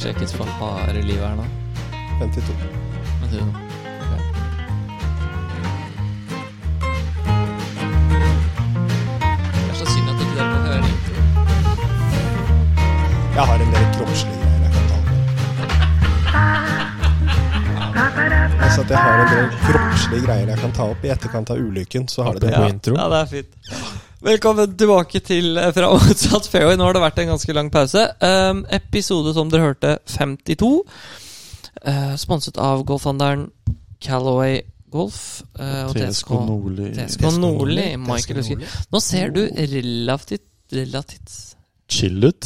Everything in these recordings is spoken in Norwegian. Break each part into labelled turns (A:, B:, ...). A: sjekkes for harde livet her nå.
B: 52.
A: Men du, Det er så synd at ikke dere får høre introen.
B: Jeg har en del kroppslige greier jeg kan ta opp. Altså at jeg har en del kroppslige greier jeg kan ta opp i etterkant av ulykken, så har det det.
A: ja. Ja, det er fint. Velkommen tilbake til eh, Fra motsatt fairway. Nå har det vært en ganske lang pause. Um, episode som dere hørte, 52. eh, sponset av golfhandelen Callaway Golf eh, og TSK,
C: Nordli.
A: TSK Nordli.
B: TSK
A: Michael
B: Nordli.
A: Husker. Nå ser du relativt Relativt
C: Chill ut.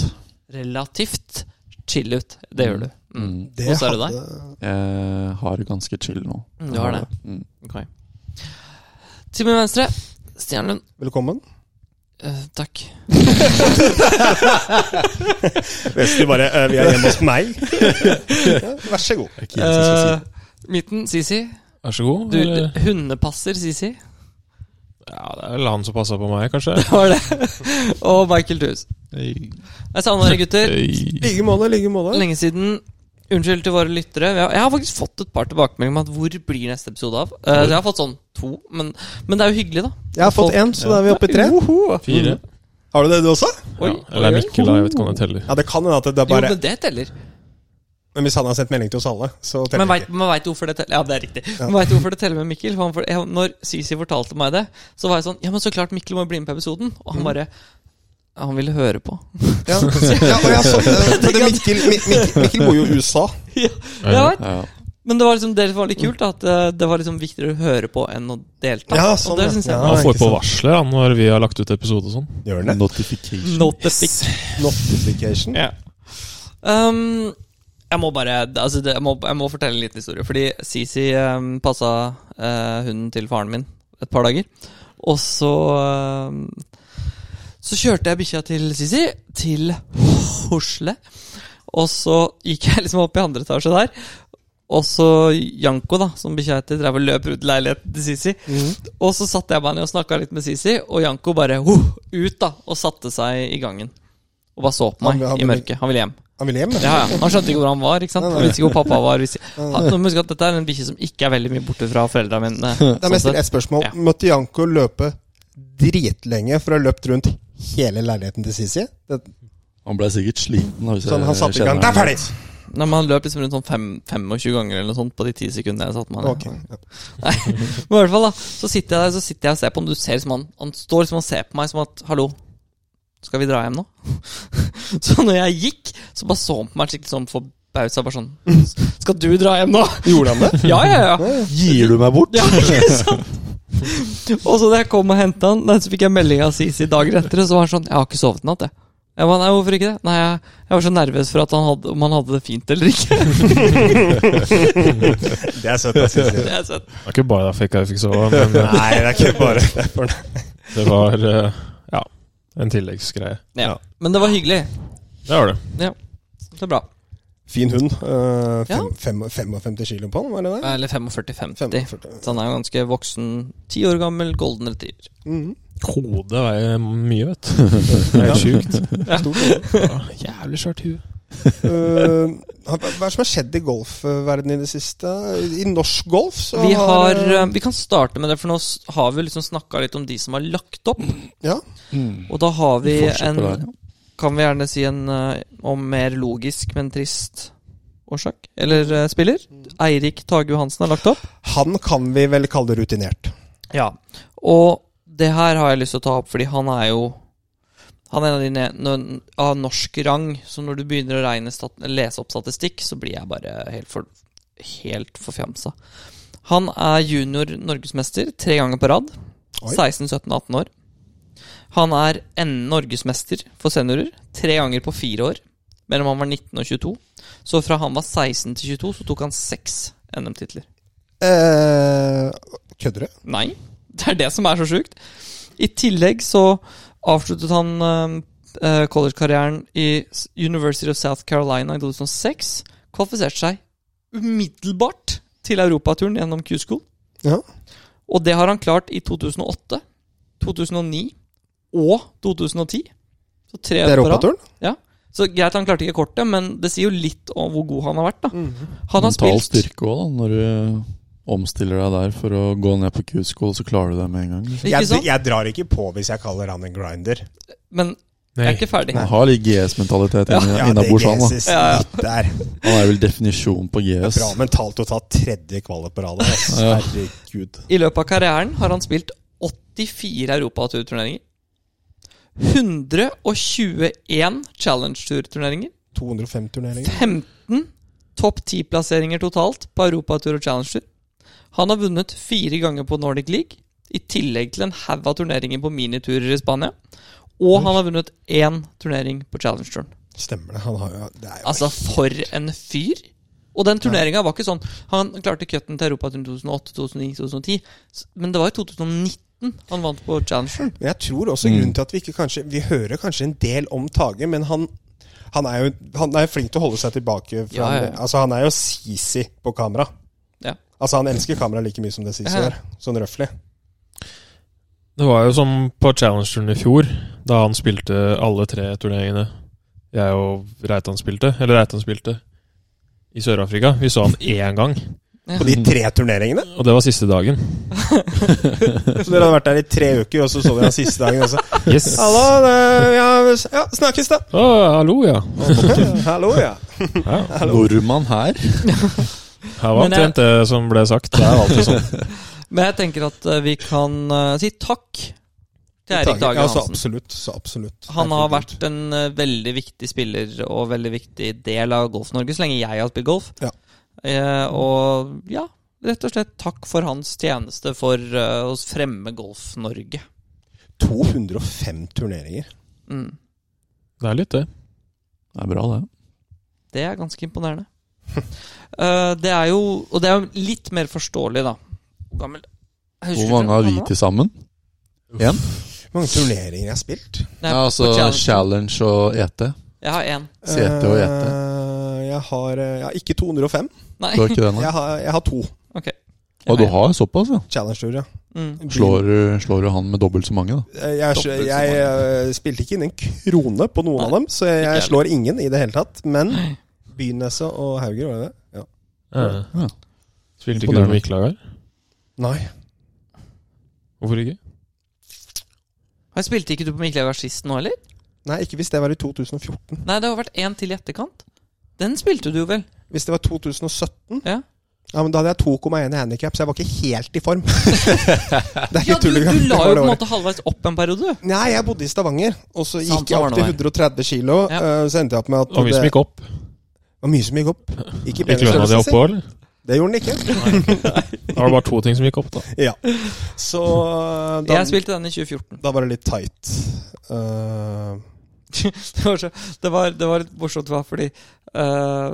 A: Relativt chill ut. Det gjør du. Mm.
B: Det
A: Hvordan er det
B: hadde-
C: Jeg Eh, har det ganske chill nå.
A: Mm, Du har det.
C: Mm.
A: Ok. Til min venstre, Stian Lund.
B: Velkommen.
A: Eh, takk.
B: Wesley bare eh, Vi er hjemme hos meg. Ja, Vær så god.
A: Eh, midten, Sisi.
D: Vær så god.
A: Du,
D: eller-
A: hundepasser, Sisi.
D: ja, det er vel han som passa på meg, kanskje.
A: Det var det. Og Michael Thues.
C: Eh,
A: Jeg savner dere, gutter.
C: Hey.
B: Like måte, like måte.
A: Lenge siden. Unnskyld til våre lyttere. Vi har- Jeg har faktisk fått et par tilbakemeldinger om at hvor blir neste episode av. Eh, så jeg har fått sånn to, men, men det er jo hyggelig, da.
B: Jeg har fått én, så da er vi oppe i tre.
A: Joho!
D: Fire.
B: Har du det, du også?
A: Oi,
D: Ja, eller
A: oi, oi.
D: Mikkel, da. Jeg vet ikke om det teller.
B: Ja, det kan hende at det er
A: Jo,
B: bare
A: men det teller.
B: Men hvis han har sendt melding til oss alle, så
A: Men
B: teller det
A: veit
B: ikke.
A: men vet du hvorfor det teller? Ja, det er riktig. Men vet du hvorfor det teller med Mikkel? For han, for, jeg, når Sisi fortalte meg det, så var jeg sånn Ja, men så klart Mikkel må bli med på episoden. Og
B: Mm.
A: han bare ja, Han ville høre på.
B: Ja, ja, og ja, sånn, eh, for det Mikkel, Mi- Mikkel, Mikkel bor jo i USA.
A: ja, jeg vet.
C: Ja.
A: Men det var liksom det som var litt kult, da, at eh, det var liksom viktigere å høre på enn å delta.
B: Ja, sånn,
A: og det
B: ja.
A: synes jeg
B: Ja.
A: var
D: Han får
B: ikke
D: på
B: sant.
D: varsler han, når vi har lagt ut episode og sånn.
B: Gjør den det?
C: Notification.
A: Not the fix.
B: Notification.
A: Um, jeg må bare altså det, jeg, må, jeg må fortelle en liten historie. Fordi Sisi um, passa eh, hunden til faren min et par dager. Og så um, Så kjørte jeg bikkja til Sisi til Hosle. Og så gikk jeg liksom opp i andre etasje der. Og så Janko, da, som bikkja heter, drev og løp rundt leiligheten til Sisi.
B: Mhm.
A: Og så satte jeg meg ned og snakka litt med Sisi, og Janko bare ho, ut da og satte seg i gangen. Og bare så på
B: Han-
A: meg
B: han
A: i
B: ville-
A: mørket. Han ville hjem.
B: Han vil hjem?
A: Ja, ja. Han skjønte ikke hvor han var. ikke sant? Han visste ikke hvor pappa var. Hvis... Han, nå må huske at Dette er en bikkje som ikke er veldig mye borte fra foreldra mine.
B: Da må
A: Sånn
B: jeg stille
A: sett.
B: et spørsmål.
A: Ja.
B: Måtte Janko løpe dritlenge for å ha løpt rundt hele leiligheten til Sisi? Det,
C: Han ble sikkert sliten. da, Hvis
B: sånn han
C: jeg
B: satte i
C: kjenner
B: gang. Det er
C: han.
B: ferdig!
A: Nei, men han løp liksom rundt sånn fem, 25 ganger eller noe sånt på de ti sekundene jeg satt med han.
B: Ok. Ja.
A: Nei, men i hvert fall da Så sitter jeg der så sitter jeg og ser på ham. Du ser som han Han står som han ser på meg som at Hallo, skal vi dra hjem nå? Så når jeg gikk, så bare så han på meg skikkelig sånn forbausa. Bare sånn Skal du dra hjem nå?
B: Gjorde han det?
A: Ja, ja, ja.
C: Gir du meg bort?
A: Ja, ikke sant? Og så da jeg kom og henta han, nei, så fikk jeg melding av Sisi dager etter, og så var han sånn Jeg har ikke sovet i natt, jeg. Jeg ba, nei, hvorfor ikke det? Nei, jeg, jeg var så nervøs for at han hadde, om han hadde det fint eller ikke.
B: Det er søtt av Sisi.
A: Det er søtt.
D: Det er ikke bare derfor jeg ikke fikk sove, men eh,
B: Nei, det er ikke bare det. er for-
D: det var eh, ja, en tilleggsgreie.
A: Ja.
B: Ja.
A: Men det var hyggelig.
D: Det var det.
A: Det er bra.
B: Fin hund. eh,
A: Ja.
B: fem- fem- 55 kilo på han, var det det?
A: Eller 45-50.
B: 45.
A: Så han er jo ganske voksen. Ti år gammel golden retriever.
B: Mhm.
D: Hodet veier mye, vet du. Det er sjukt.
B: Stort hode.
D: Ja, jævlig svært hue.
B: Eh, hva hva er det som har skjedd i golfverdenen i det siste? I i norsk golf så
A: Vi, har,
B: eh,
A: eh, vi kan starte med det, for nå s- har vi liksom snakka litt om de som har lagt opp.
B: Ja.
C: Mm.
A: Og da har vi
C: Fortsett
A: en
C: på det her, ja.
A: Kan vi gjerne si en eh, om mer logisk, men trist årsak? Eller eh, spiller? Eirik Tage Johansen har lagt opp.
B: Han kan vi vel kalle rutinert.
A: Ja. Og det her har jeg lyst til å ta opp, fordi han er jo Han er en av de ne- nø- av norsk rang, så når du begynner å regne stat lese opp statistikk, så blir jeg bare helt, for helt forfjamsa. Han er junior norgesmester tre ganger på rad.
B: Oi.
A: 16, 17, 18 år. Han er N norgesmester for seniorer tre ganger på fire år. Mellom han var 19 og 22. Så fra han var 16 til 22, så tok han seks NM-titler.
B: Eh, kødder du?
A: Nei. Det er det som er så sjukt. I tillegg så avsluttet han eh, collegekarrieren i S- University of South Carolina i 2006. Kvalifiserte seg umiddelbart til europaturen gjennom Q-school.
B: Ja.
A: Og det har han klart i 2008, 2009 og 2010. Så tre
B: Det er
A: år på rad.
B: Europaturen?
A: Så greit, han klarte ikke kortet, men det sier jo litt om hvor god han har vært. da Han
B: Mhm.
A: har
C: Mental
A: spilt
C: styrke òg, da. Når du omstiller deg der for å gå ned på Q-school, så klarer du det med en gang. liksom.
A: Ikke
B: Jeg,
A: sant?
B: jeg drar ikke på hvis jeg kaller han en grinder.
A: Men jeg er
D: Nei.
A: ikke ferdig.
C: Han har litt GS-mentalitet
B: Ja, det
C: innabords, han. da.
B: Jesus,
A: Ja, ja.
B: litt der.
C: Han er vel definisjon på GS.
B: Bra mentalt å ta tredje kvalik på rad. ass.
C: Ja.
B: Herregud.
A: I løpet av karrieren har han spilt 84 europaturturneringer. 121 challenge-turturneringer.
B: 205 turneringer.
A: 15 topp 10-plasseringer totalt på Europatur og Challenger. Han har vunnet fire ganger på Nordic League, i tillegg til en haug av turneringer på miniturer i Spania. Og han har vunnet én turnering på Challenger-turen.
B: Stemmer det. Han har jo Det er jo
A: Altså, for en fyr! Og den turneringa var ikke sånn Han klarte cutten til Europaturen 2008, 2009, 2010, s- men det var i 2019 han vant på Challenger.
B: Men jeg tror også grunnen til at vi ikke kanskje Vi hører kanskje en del om Tage, men han han er jo han er flink til å holde seg tilbake. Fra,
A: Ja, ja, ja.
B: Altså Han er jo sisi på kamera.
A: Ja.
B: Altså Han elsker kamera like mye som det sisi
A: Ja, ja.
B: gjør. Sånn røftlig.
D: Det var jo som på Challengeren i fjor, da han spilte alle tre turneringene jeg og Reitan spilte. Eller Reitan spilte i Sør-Afrika. Vi så han én gang,
B: På de tre turneringene.
D: og det var siste dagen.
B: Så dere hadde vært der i tre uker, og så så dere han siste dagen. altså. Og så,
D: Yes!
B: Hallo, det, ja, ja, snakkes, da.
D: Å, hallo, ja.
B: Hallo, ja.
D: ja.
C: Nordmann her.
D: Her var
A: Men jeg-
D: omtrent det som ble sagt. Det er jo alltid sånn.
A: Men jeg tenker at eh, vi kan eh, si takk til Eirik Dage
B: Ja, så
A: Hansen.
B: absolutt. Så absolutt.
A: Han har
B: Herregud.
A: vært en eh, veldig viktig spiller og veldig viktig del av Golf-Norge, så lenge jeg har spilt golf.
B: Ja.
A: Eh, og ja, rett og slett takk for hans tjeneste for eh, å fremme Golf-Norge.
B: 205 turneringer.
A: Mm.
D: Det er litt det.
C: Det er bra, det.
A: Det er ganske imponerende. Eh, det er jo Og det er jo litt mer forståelig, da. Hvor gammel Husker
C: Hvor
A: du
C: mange har vi
A: gammel var?
C: til sammen? Én?
B: Hvor mange turneringer jeg har spilt?
A: Nei,
C: Ja, altså
A: på challenge.
C: Challenge og ET.
A: Jeg har én.
C: Sete og Jete.
B: Eh, Jeg har eh, ja, ikke 205.
A: Nei.
C: Du har ikke det nå?
B: Jeg har, jeg har to
A: Ok.
C: Og du har såpass, ja?
B: challenge-turer. ja.
A: Mm.
C: Slår, du- slår du han med dobbelt så mange, da?
B: Eh, Jeg,
A: Dobbelt så
B: jeg eh, spilte ikke inn en krone på noen av dem, så jeg,
A: ikke jeg
B: slår ingen i det hele tatt. Men Byneset og Hauger, var det det? Ja.
D: Ja.
C: Ja.
D: Spilte ikke du
C: Imponerende.
D: med Ikkelag her?
B: Nei.
D: Hvorfor ikke?
A: Har- Spilte ikke du på Mikkel Evers sist nå, eller?
B: Nei, ikke hvis det var i 2014.
A: Nei, det har vært én til i etterkant. Den spilte du vel?
B: Hvis det var 2017
A: Ja.
B: Ja, men Da hadde jeg 2,1 i handikap, så jeg var ikke helt i form. det er
A: Ja, du,
B: ikke tull
A: du
B: engang. Det
A: la
B: var
A: jo på
B: det
A: en
B: året.
A: måte halvveis opp en periode, du.
B: Nei, jeg bodde i Stavanger, og så
A: Sant,
B: gikk
A: så
B: jeg
A: var
B: opp
A: det
B: til 130 kilo.
A: Ja.
B: eh, Så endte jeg opp med at
D: Og vi som gikk opp.
B: var mye som gikk opp. Ikke
D: Gikk lønna di
B: penisstørrelse,
D: opp
B: si.
D: òg, eller?
B: Det gjorde den ikke.
D: Da var det bare to ting som gikk opp, da.
B: Ja. Så da,
A: Jeg spilte den i 2014.
B: da var det litt tight. Eh,
A: Det var, så, det var, det var litt morsomt, hva, fordi eh,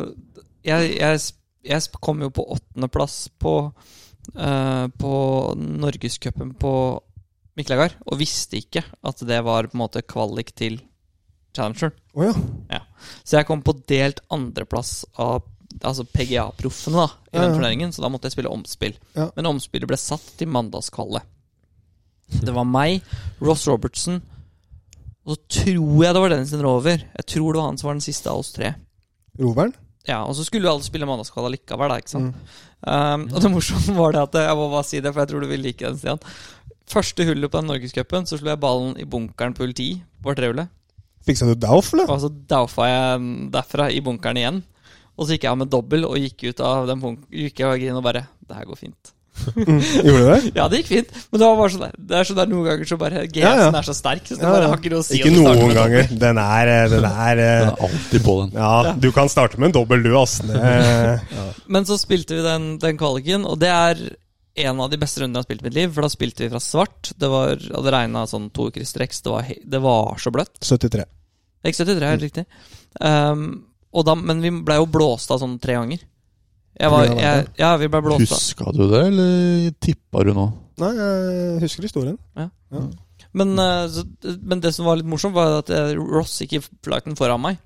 A: jeg, jeg, sp- jeg sp- kom jo på åttendeplass på, uh, på Norgescupen på Miklagard, og visste ikke at det var på en måte kvalik til Challengeren.
B: Å ja.
A: Så jeg kom på delt andreplass av altså PGA-proffene da i
B: Ja,
A: den
B: ja.
A: turneringen, så da måtte jeg spille omspill.
B: Ja.
A: Men omspillet ble satt til mandagskvallet.
B: Hm.
A: Det var meg, Ross Robertson, og så tror jeg det var Dennis Rover. Jeg tror det var han som var den siste av oss tre.
B: Roveren?
A: Ja, Og så skulle jo alle spille mandagskvall likevel, da. ikke sant?
B: Hm.
A: Um, og det morsomme var det at Jeg må bare si det, for jeg tror du vil like den, Stian. Første hullet på den norgescupen, så slo jeg ballen i bunkeren på hull 10 på trehullet.
B: Fiksa du Dauf, eller?
A: Og så daufa jeg derfra i bunkeren igjen. Og så gikk jeg av med dobbel og gikk ut av den bunk- gikk jeg av grinen og bare Det her går fint.
B: Gjorde du det?
A: Ja, det gikk fint, men det var bare sånn der. Det er sånn der noen ganger så bare GS-en
B: Ja, ja.
A: er så sterk, så det
B: Ja, ja.
A: bare har ikke noe å si.
B: Ikke
A: om du starter
B: noen
A: med dobbel.
B: ganger. Den er, eh, den er eh,
C: Den er alltid på den.
B: Ja, du kan starte med en dobbel, du, ass. Det-
A: Men så spilte vi den, den kvaliken, og det er en av de beste rundene jeg har spilt i mitt liv. For da spilte vi fra svart. Det var, og det regna sånn to uker i strekk, så det var, he- det var så bløtt.
B: 73.
A: X73 er helt
B: Mm.
A: riktig. Um, og da, men vi blei jo blåst av sånn tre ganger. Jeg var, jeg, ja, vi blei blåst av.
C: Huska du det, eller tippa du nå?
B: Nei, jeg husker historien.
A: Men, eh, så, men det som var litt morsomt, var at eh, Ross gikk i flighten foran meg.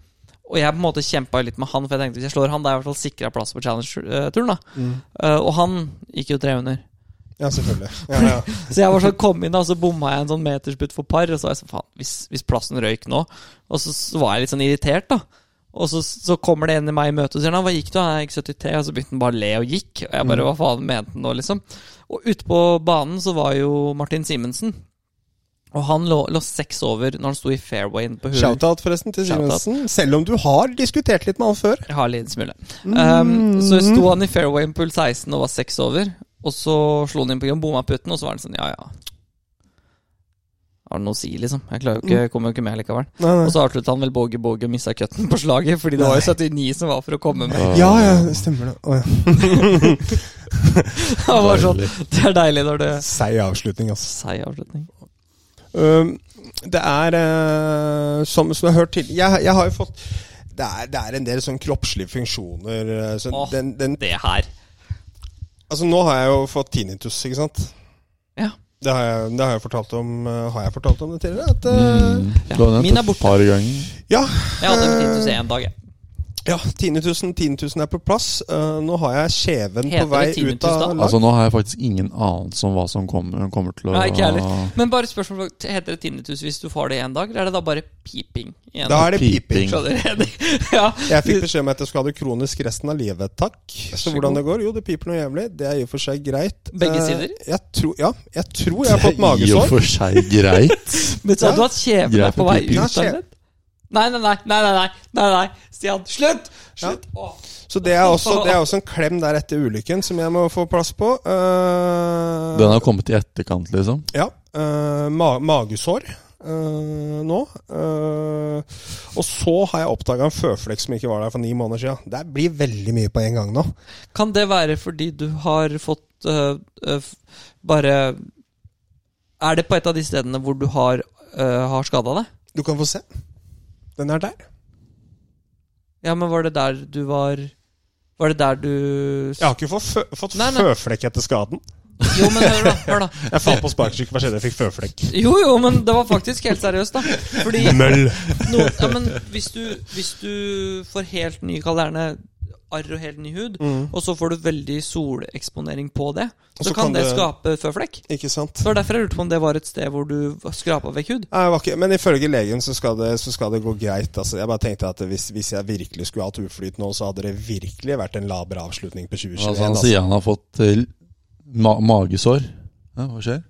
A: Og jeg på en måte kjempa litt med han, for jeg tenkte hvis jeg slår han, da er jeg i hvert fall sikra plass på Challenge-turen. da Eh, Og han gikk jo tre under.
B: Ja, selvfølgelig. Ja, ja.
A: Så jeg var sånn, kom inn da, og så bomma jeg en sånn metersputt for par. Og så var jeg sånn, faen, hvis, hvis plassen røyk nå Og så, så var jeg litt sånn irritert, da. Og så, så kommer det en i meg i møte og sier han, 'Hva gikk du?' Jeg gikk 73, og så begynte han bare å le og gikk. Og jeg bare, hva faen mente han nå, liksom? Og ute på banen så var jo Martin Simensen. Og han lå, lå seks over når han sto i fairwayen på hull.
B: Shoutout, forresten, til
A: Shoutout.
B: Simensen. Selv om du har diskutert litt med han før. Mm.
A: Jeg har en liten smule. Um, så sto han i fairwayen på hull 16 og var seks over. Og så slo han inn på grunn, bomma putten, og så var han sånn ja, ja. Har det noe å si, liksom? Jeg klarer jo ikke, kommer jo ikke med likevel.
B: Nei,
A: Og
B: nei.
A: så avslutta han vel Båge Båge missa cutten på slaget, fordi det var jo 79 som var for å komme med.
B: Ja, ja, det stemmer det. Å, ja.
A: Han var sånn, Det er deilig når det
B: Seig avslutning, altså.
A: Seig avslutning.
B: Um, det er eh, som, som jeg har hørt til jeg, jeg har jo fått det er, det er en del sånn kroppslige funksjoner eh, så
A: Åh.
B: den, den,
A: Det her.
B: Altså, nå har jeg jo fått tinnitus, ikke sant?
A: Ja.
B: Det har jeg, det har jeg fortalt om eh, Har jeg fortalt om det tidligere? At, eh,
A: Ja,
C: Mm. Du
A: min
C: har
A: er
C: nevnt det
A: borte.
C: et par ganger.
B: Ja.
A: Jeg hadde tinnitus én dag, jeg.
B: Ja, 10 000, 10 000 er på plass. Eh, nå har jeg kjeven
A: Heter
B: på vei
A: det 10 000
B: ut av
A: da?
B: lag.
C: Altså Nå har jeg faktisk ingen anelse om hva som kommer, kommer til å
A: Nei, ikke jeg heller. Men bare spørsmål Heter det tinnitus hvis du får det én dag, eller er det da bare piping? i en
B: Da
A: dag?
B: er det piping.
C: Piping.
A: Skjønner jeg. Ja.
B: Jeg fikk beskjed om at jeg skulle ha det kronisk resten av livet, takk. Så hvordan det går? Jo, det piper noe jævlig. Det er i og for seg greit.
A: Begge
B: Eh,
A: sider?
B: Jeg tror, ja, jeg tror jeg har fått
C: I og
B: magesår.
C: for seg greit.
A: Men så
B: Ja.
A: hadde du hatt kjeven
C: Greit
A: er på
C: med
A: vei
C: piping.
A: ut
B: Ja,
A: av
B: skje-
A: den? Nei, nei, nei, nei, nei, nei, nei, nei. Stian, slutt! Slutt! Åh.
B: Så det er, også, det er også en klem der etter ulykken som jeg må få plass på. Eh,
C: Den har kommet i etterkant, liksom.
B: Ja. eh, ma magesår eh, nå. Eh, og så har jeg oppdaga en føflekk som ikke var der for ni måneder sia. Det blir veldig mye på en gang nå.
A: Kan det være fordi du har fått øh, øh, f- bare Er det på et av de stedene hvor du har, øh, har skada deg?
B: Du kan få se. Den er der.
A: Ja, men var det der du var Var det der du
B: Jeg har ikke fått, fø fått
A: Nei, nei.
B: føflekk etter skaden.
A: Jo, men hør, da. Hør da.
B: Jeg falt på sparkesykkel, hva skjedde? Jeg fikk føflekk.
A: Jo, jo, men det var faktisk helt seriøst, da. Fordi
B: Møll.
A: No, ja, men hvis du, hvis du får helt ny kalerne arr og helt ny hud, og så får du veldig soleksponering på det, så,
B: Mm. så
A: kan,
B: kan
A: det
B: det-
A: skape føflekk.
B: Ikke sant?
A: Det var derfor jeg lurte på om det var et sted hvor du skrapa vekk hud.
B: Nei, det var ikke, men ifølge legen så skal det, så skal det gå greit. Altså, jeg bare tenkte at hvis, hvis jeg virkelig skulle hatt uflyt nå, så hadde det virkelig vært en laber avslutning på 2021.
C: Altså, han
B: altså.
C: sier han har fått eh, ma magesår. Ja, hva skjer?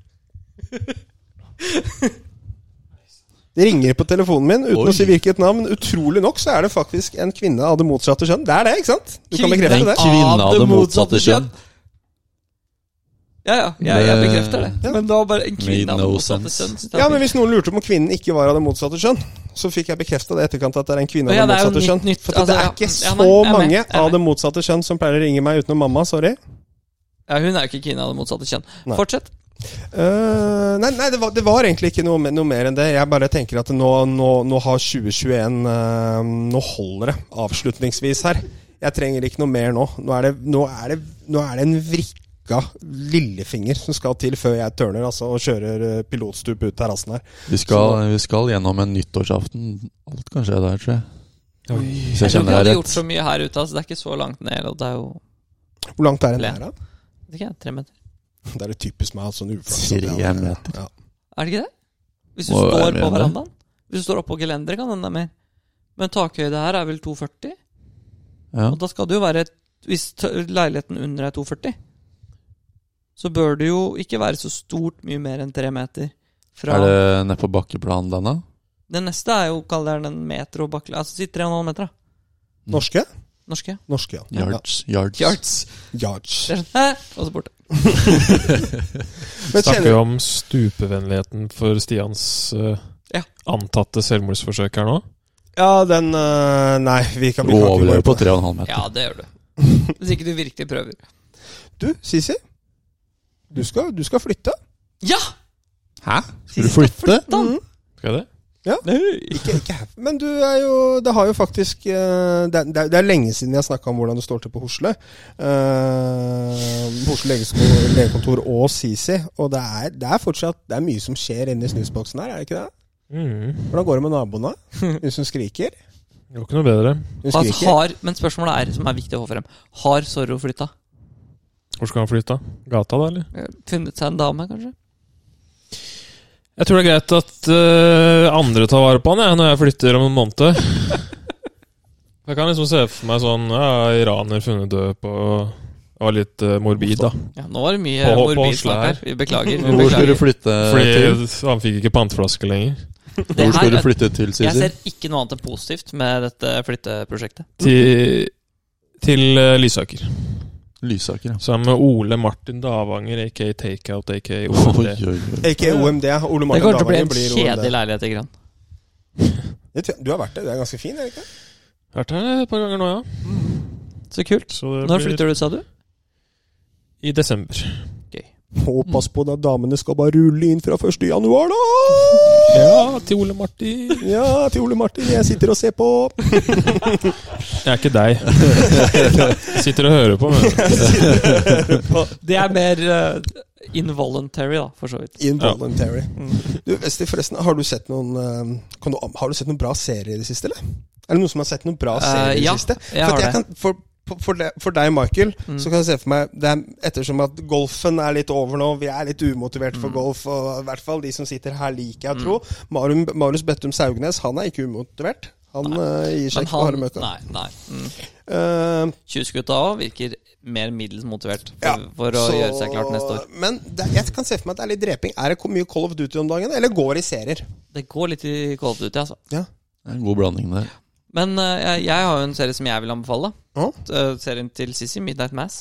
B: Det ringer på telefonen min uten
C: Oi.
B: å si hvilket navn. Utrolig nok så er det faktisk en kvinne av det motsatte kjønn. Det er det, ikke sant? Du kan
A: Kvinne
B: bekrefte det.
C: Kvinne av det motsatte kjønn.
A: Ja, ja, jeg, jeg
C: Det-
A: bekrefter det. Men det var bare en
C: Made
A: kvinne av
C: no
A: det motsatte
C: sense.
A: kjønn.
B: Ja, men Hvis noen lurte på om kvinnen ikke var av det motsatte kjønn, så fikk jeg bekrefta det i etterkant at det er en kvinne av
A: Ja,
B: det
A: det er jo
B: motsatte
A: nytt-
B: kjønn.
A: nytt,
B: For at det
A: altså,
B: er
A: ja.
B: ikke
A: Ja,
B: så
A: nei, jeg er med,
B: mange
A: jeg er
B: av det motsatte kjønn som pleier å ringe meg utenom mamma. Sorry.
A: Ja, hun er jo ikke kvinne av det motsatte kjønn.
B: Nei.
A: Fortsett.
B: Eh, nei, nei det, var, det var egentlig ikke noe, me- noe mer enn det. Jeg bare tenker at nå, nå, nå har 2021 eh, Nå holder det avslutningsvis her. Jeg trenger ikke noe mer nå. Nå er det, nå er det, nå er det en vrikka lillefinger som skal til før jeg turner altså, og kjører eh, pilotstup ut terrassen her.
C: Vi skal, vi skal gjennom en nyttårsaften. Alt kan skje der, tror jeg. Hvis
A: Jeg tror
C: jeg
A: ikke
C: kjenner
A: jeg
C: deg
A: hadde gjort
C: rett.
A: så mye her ute, altså. Det er ikke så langt ned. Og det er jo
B: Hvor langt er den
A: Len.
B: her, da?
A: vet ikke jeg, tre meter.
B: Det er det typisk meg. at Sånn uflaks.
C: Tre
B: Ja, ja, ja.
C: meter.
B: Ja.
A: Er det ikke det? Hvis du
C: Må være
A: står
C: med
A: på
C: det.
A: verandaen? Hvis du står oppå gelenderet, kan hende det er mer. Men takhøyde her er vel 240?
C: Ja.
A: Og da skal det jo være Hvis t- leiligheten under er 240, så bør det jo ikke være så stort mye mer enn tre meter. Fra
C: Er det nede på bakkeplan, denne?
A: Den neste er jo, kall det gjerne en meter og bakkele... Altså si 3,5 meter, da.
B: Norske?
A: Norske.
B: Norske, ja.
C: Yards. Yards.
A: Yards.
B: ja. Yards.
A: Det er sånn, hæ? Og så borte.
B: Men
D: Snakker
B: kjenner,
D: jo om stupevennligheten for Stians eh,
A: Ja.
D: antatte selvmordsforsøk her nå.
B: ja, den eh, Nei, vi kan,
C: Du
B: vi kan ikke gå
C: overlever
B: inn på
C: på 3,5 meter.
A: Ja, det gjør du. Hvis ikke du virkelig prøver.
B: Du, Sisi. Du skal, du skal flytte. Mm.
A: Ja!
C: Hæ? Skal du flytte?
A: Dan.
D: Skal jeg det?
B: Ikke, ikke her. Men du er jo Det har jo faktisk eh, Det er, det er- det er lenge siden jeg snakka om hvordan det står til på Hosle. Eh, Hosle legesko- legekontor og Sisi. Og det er, det er fortsatt Det er mye som skjer inni snusboksen her, er det ikke det?
D: Mm.
B: Hvordan går det med naboene? Hun som skriker?
D: Det var ikke noe bedre.
B: Hun
A: Altså,
B: skriker.
A: har, men spørsmålet er, som er viktig å få frem, har Zorro flytta?
D: Hvor skal han flytte? Gata, da, eller?
A: Funnet seg en dame, kanskje?
D: Jeg tror det er greit at øh, andre tar vare på han, jeg, når jeg flytter om en måned. Jeg kan liksom se for meg sånn ja, iraner funnet død på Det var litt øh, morbid, da.
A: Ja, nå var det mye
D: På- på
A: morbid
D: Oslo
A: snakk
D: her.
A: her. Vi beklager. Vi
C: Hvor skulle du
A: beklager.
C: flytte til?
D: Fordi han fikk ikke panteflaske lenger.
A: Det
C: Hvor skal
A: her
C: du
A: er-
C: flytte til,
A: Jeg
C: Sisi?
A: ser ikke noe annet enn positivt med dette flytteprosjektet.
D: Til, til øh, Lysaker.
C: Lysaker, ja.
D: Sammen med Ole Martin Davanger, aka Takeout, aka
C: Oi,
D: OMD.
C: oi, oi.
B: Ikke OMD. Ole
A: Det
B: Martin
A: kommer til å bli
B: Davanger
A: en
B: blir
A: kjedelig
B: OMD.
A: leilighet i Gran.
B: Det tror jeg- Du har vært der. Du er ganske fin, er det ikke? det?
D: Vært her et par ganger nå, ja.
A: Så kult.
D: Så det
A: Når
D: blir
A: flytter du, sa du?
D: I desember.
A: Mm.
B: Og pass på at damene skal bare rulle inn fra 1. januar, da!
D: Ja, til Ole Martin.
B: Ja, til Ole Martin. Jeg sitter og ser på.
D: Jeg er ikke deg. Sitter og hører på, men
A: Det er mer eh, involuntary, da, for så vidt.
B: Involuntary.
A: Mm.
B: Du, Vesti, forresten, har du sett noen eh, kan du, Har du sett noen bra serier i det siste, eller? Er det noen som har sett noen bra serier
A: Eh,
B: i det
A: ja,
B: siste?
A: jeg
B: for, at
A: har
B: jeg
A: det.
B: Kan, for, for- for, deg- for deg, Michael,
A: Mm.
B: så kan jeg se for meg det er, Ettersom at golfen er litt over nå, vi er litt umotivert
A: Mm.
B: for golf, og i hvert fall de som sitter her, liker jeg å tro. Marum, Marius Bettum Saugnes, han er ikke umotivert. Han eh, gir seg
A: Men
B: ikke på
A: han
B: harde møter.
A: Nei. nei mm.
B: Eh,
A: Tjuvskutta òg virker mer middels motivert for,
B: Ja,
A: for å
B: så-
A: gjøre seg klart neste år.
B: Men det, jeg kan se for meg at det er litt dreping. Er det mye Call of Duty om dagen, eller går det i serier?
A: Det går litt i Call of Duty, altså.
C: Det er En god blanding der.
A: Men eh, jeg, jeg har jo en serie som jeg vil anbefale.
B: Ja.
A: Eh, serien til Sissy, 'Midnight Mass'.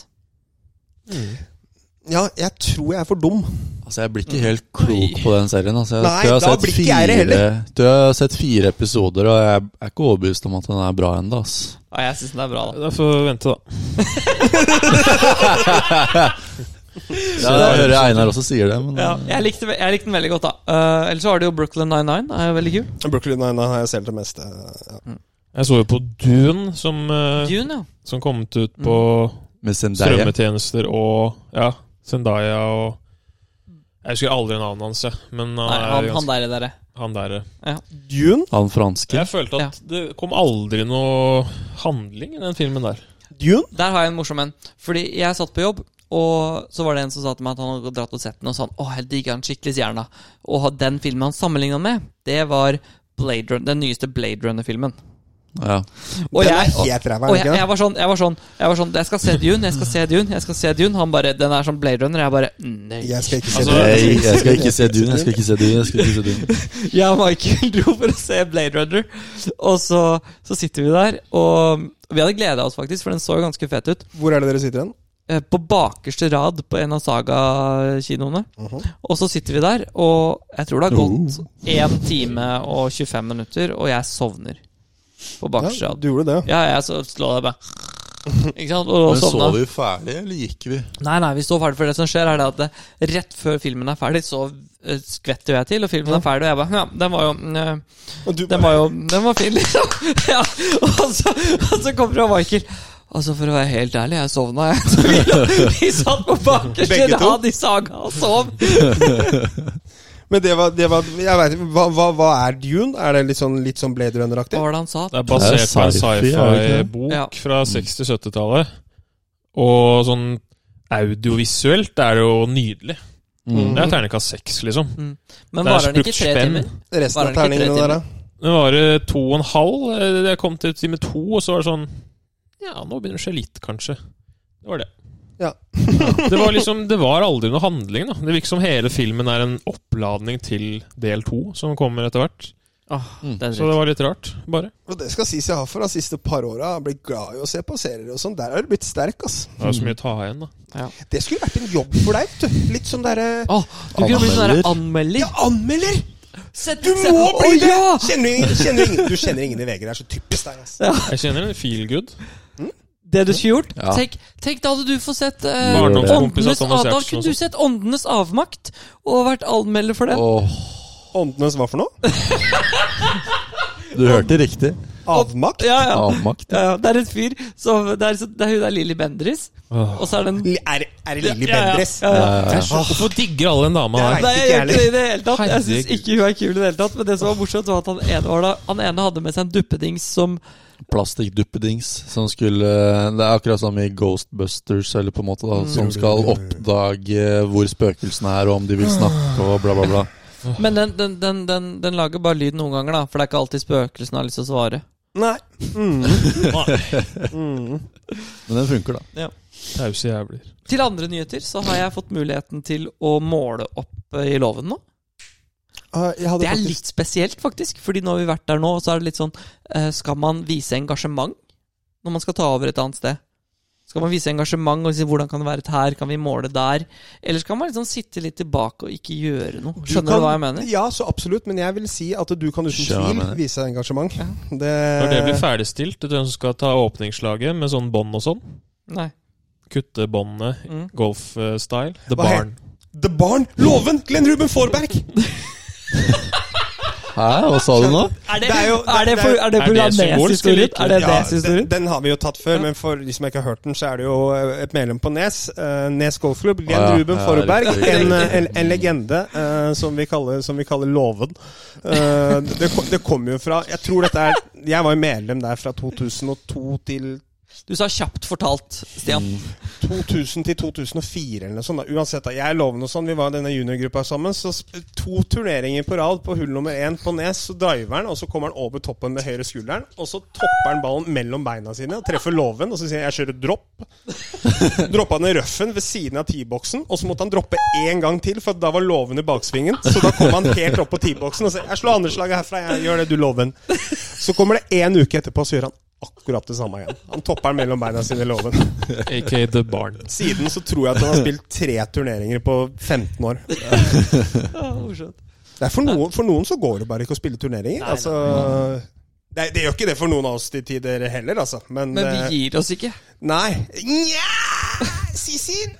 B: Ja, jeg tror jeg er for dum.
C: Altså, jeg blir ikke helt klok på den serien. Altså, jeg,
B: Nei,
C: tror jeg har
B: da
C: sett
B: blir ikke jeg det
C: fire-
B: heller.
C: tror Jeg har sett fire episoder, og jeg er ikke overbevist om at den er bra ennå. ass.
A: Ja, Ah, jeg syns den er bra, da.
D: da får vi vente, da.
C: Ja, jeg hører Einar også sier det, men
A: Ja, jeg, likte, ve- jeg likte den veldig godt, da. Eh, ellers så har du jo Brooklyn 99. Det er jo veldig kul.
B: Brooklyn Nine-Nine har jeg selv det meste. Ja.
D: Jeg så jo på Dune, som, eh,
A: Dune, ja.
D: som kom ut på
C: med Zendaya
D: strømmetjenester og ja, Zendaya og Jeg husker aldri navnet hans, jeg. Men han,
A: Nei, han,
D: er
A: han
D: ganske,
A: der, der.
D: han der. eh.
B: Dune,
C: Han franske.
D: Jeg følte at det kom aldri noe handling i den filmen der.
B: Dune?
A: Der har jeg en morsom en. Fordi jeg satt på jobb, og så var det en som sa til meg at han hadde dratt og sett den, og sa han, åh, jeg digger den skikkelig, sier han da. Og ha- den filmen han sammenligna med, det var Blade Run, den nyeste Blade Runner-filmen.
C: Ja.
A: Og
B: den
A: jeg-
B: er helt ræva,
A: Og jeg,
B: er den ikke
A: jeg var sånn, jeg var sånn, jeg var sånn Jeg skal se Dune, jeg skal se Dune, jeg skal se Dune. Han bare Den er som Blade Runner. Jeg bare Nei.
B: det? Jeg skal ikke se
D: Altså,
B: Dune.
C: Nei, jeg skal ikke se Dune, jeg skal ikke se Dune. Jeg skal ikke se Dune.
A: Jeg og Michael dro for å se Blade Runner, og så, så sitter vi der. Og vi hadde gleda oss, faktisk, for den så jo ganske fet ut.
B: Hvor er det dere sitter igjen?
A: Eh, På bakerste rad på en av Saga-kinoene. Og så sitter vi der, og jeg tror det har gått én time og 25 minutter, og jeg sovner på bakerste
B: Ja,
A: rad.
B: du gjorde det, ja.
A: Ja, jeg så slå deg bare Ikke sant? Og
C: Men så
A: sovna.
C: vi ferdig, eller gikk vi?
A: Nei, nei, vi står ferdig for det som skjer, er det at det, rett før filmen er ferdig, så eh, skvetter jo jeg til, og filmen er ferdig, og jeg bare Ja, den var jo mm, eh,
B: Og du
A: Den var jo Den var fin, liksom. ja, og, så, og så kommer jo Michael. Altså, for å være helt ærlig, jeg sovna, jeg. Så vi, lå- vi satt på bakerste
B: Begge to?
A: rad i Saga og sov.
B: Men det var, det var Jeg vet, ikke, hva, hva, hva er Dune? Er det litt sånn, litt sånn Blade
A: Hva
B: Runner-aktig?
A: var det han sa?
D: Det er basert
C: Det er
D: på en
C: sci-fi, er det ikke det?
D: sci-fi-bok
A: Ja.
D: fra 60-70-tallet. Og sånn audiovisuelt er det jo nydelig.
C: Mm.
D: Det er terningkast seks, liksom.
A: Men
D: det er
A: varer den ikke tre
D: spurt
A: timer?
D: spenn.
B: Resten
A: Var
B: av
A: det ikke tre
B: terningene der, da?
D: Det var eh, to og en halv. Eh, Jeg kom til time to, og så var det sånn Ja, nå begynner det å skje litt, kanskje. Det var det.
B: Ja.
D: det var liksom Det var aldri noe handling, da. Det virker som hele filmen er en oppladning til del to, som kommer etter hvert.
A: Åh,
C: Mm.
A: det er
D: Så det
A: dritt.
D: var litt rart, bare.
B: Og det skal sies jeg har for de siste par åra. Blitt glad i å se på serier og sånn. Der har du blitt sterk, ass.
D: Det var så mye å ta igjen, da.
B: Det skulle vært en jobb for deg, vet du. Litt sånn derre
A: Åh, du kunne blitt sånn der anmelder.
B: Ja, anmelder!
A: Sett-
B: Du
A: sett-
B: må bli
A: Å,
B: det!
A: ja!
B: Kjenner du, ingen- kjenner du, ingen, du kjenner ingen i VG. Det er så typisk deg, ass.
D: Jeg kjenner en feel good.
A: Det du skulle gjort?
C: Ja.
A: Tenk, tenk da hadde du fått sett eh,
C: Gjør det.
D: Barndomskompis av
A: åndenes,
D: Thomas
A: av, Da
D: Giertsen og
A: kunne du
D: sånn.
A: sett Åndenes avmakt og vært anmelder for det.
C: Åh,
B: Åndenes hva for noe?
C: du hørte riktig.
B: Avmakt?
A: Ja, ja.
C: Avmakt.
A: Ja, ja. Det er en fyr som Det er, så- det er hun der Lilly Bendriss, og så er det en
B: Er, er det Lilly
A: Ja, ja,
B: Bendriss?
A: Ja, ja.
C: Ja, ja, ja.
D: Hvorfor digger alle den dama
B: her?
D: her?
B: Nei,
A: Nei, jeg gjør ikke
B: ikke
A: det i det hele tatt. Jeg syns
D: Herregud.
A: ikke hun er kul i det hele tatt. Men det som var morsomt, var at han ene, var da, han ene hadde med seg en duppedings som
C: Plastikkduppedings som skulle Det er akkurat som i Ghostbusters, eller på en måte da, som skal oppdage hvor spøkelsene er, og om de vil snakke og bla, bla, bla.
A: Men den, den, den, den, den lager bare lyd noen ganger, da. For det er ikke alltid spøkelsene har lyst til å svare.
B: Nei. Mm. Mm.
C: Men den funker, da.
D: Tause jævler.
A: Til andre nyheter så har jeg fått muligheten til å måle opp eh, i loven nå.
B: Ah, jeg hadde
A: Det er
B: faktisk-
A: litt spesielt, faktisk. Fordi når vi har vært der nå, så er det litt sånn eh, Skal man vise engasjement når man skal ta over et annet sted? Skal man vise engasjement og si 'hvordan kan det være her', kan vi måle der? Eller skal man liksom sitte litt tilbake og ikke gjøre noe?
B: Du
A: Skjønner du,
B: kan-
A: hva jeg mener?
B: Ja, så absolutt. Men jeg vil si at du kan uten
C: Skjønner hva jeg
B: tvil
C: mener.
B: vise engasjement.
A: Ja.
B: Det,
D: Når det blir ferdigstilt, vet du hvem som skal ta åpningsslaget med sånn bånd og sånn?
A: Nei.
D: Kutte båndene
A: Mm.
D: golf-style. The
B: Hva
D: Barn.
B: The Barn! Loven! Glenn Ruben Forberg!
C: Hæ, hva sa du nå?
A: Er det,
B: Det er
A: er
B: jo-
A: er det, for, er det,
D: er det symbolsk, eller
A: programnes-historien?
D: ikke?
A: Er det
B: Ja, den,
A: Nes-historien?
B: den har vi jo tatt før,
A: Ja.
B: men for de som ikke har hørt den, så er det jo et medlem på Nes. eh, Nes golfklubb. Glenn
C: Ja,
B: Ruben
C: ja,
B: Forberg.
C: riktig, riktig.
B: En, eh, en, en legende eh, som, vi kaller, som vi kaller Låven. Eh, det kom- det kommer jo fra Jeg tror dette er Jeg var jo medlem der fra 2002 til
A: Du sa kjapt fortalt, Stian.
B: 2000 til 2004 eller noe sånt. Da. Uansett, da, jeg lover noe sånt. Vi var i denne juniorgruppa sammen. Så sp- to turneringer på rad på hull nummer én på Nes. Så driver han, og så kommer han over toppen med høyre skulderen. Og så topper han ballen mellom beina sine og treffer låven. Og så sier han 'jeg kjører dropp'. Droppa den i røffen ved siden av T-boksen. Og så måtte han droppe én gang til, for da var låven i baksvingen. Så da kom han helt opp på T-boksen og sa 'jeg slår andreslaget herfra', jeg gjør det, du låven. Så kommer det én uke etterpå, så gjør han akkurat det samme igjen. Han topper den mellom beina sine, låven.
D: Aka The Barn.
B: Siden så tror jeg at han har spilt tre turneringer på 15 år.
A: Ja, morsomt.
B: Det er for, noen, for noen så går det bare ikke å spille
A: Nei,
B: turneringer.
A: nei.
B: altså, det, det gjør ikke det for noen av oss til tider heller, altså. Men,
A: Men
B: eh,
A: vi gir oss ikke.
B: Nei. Nja! Sisi!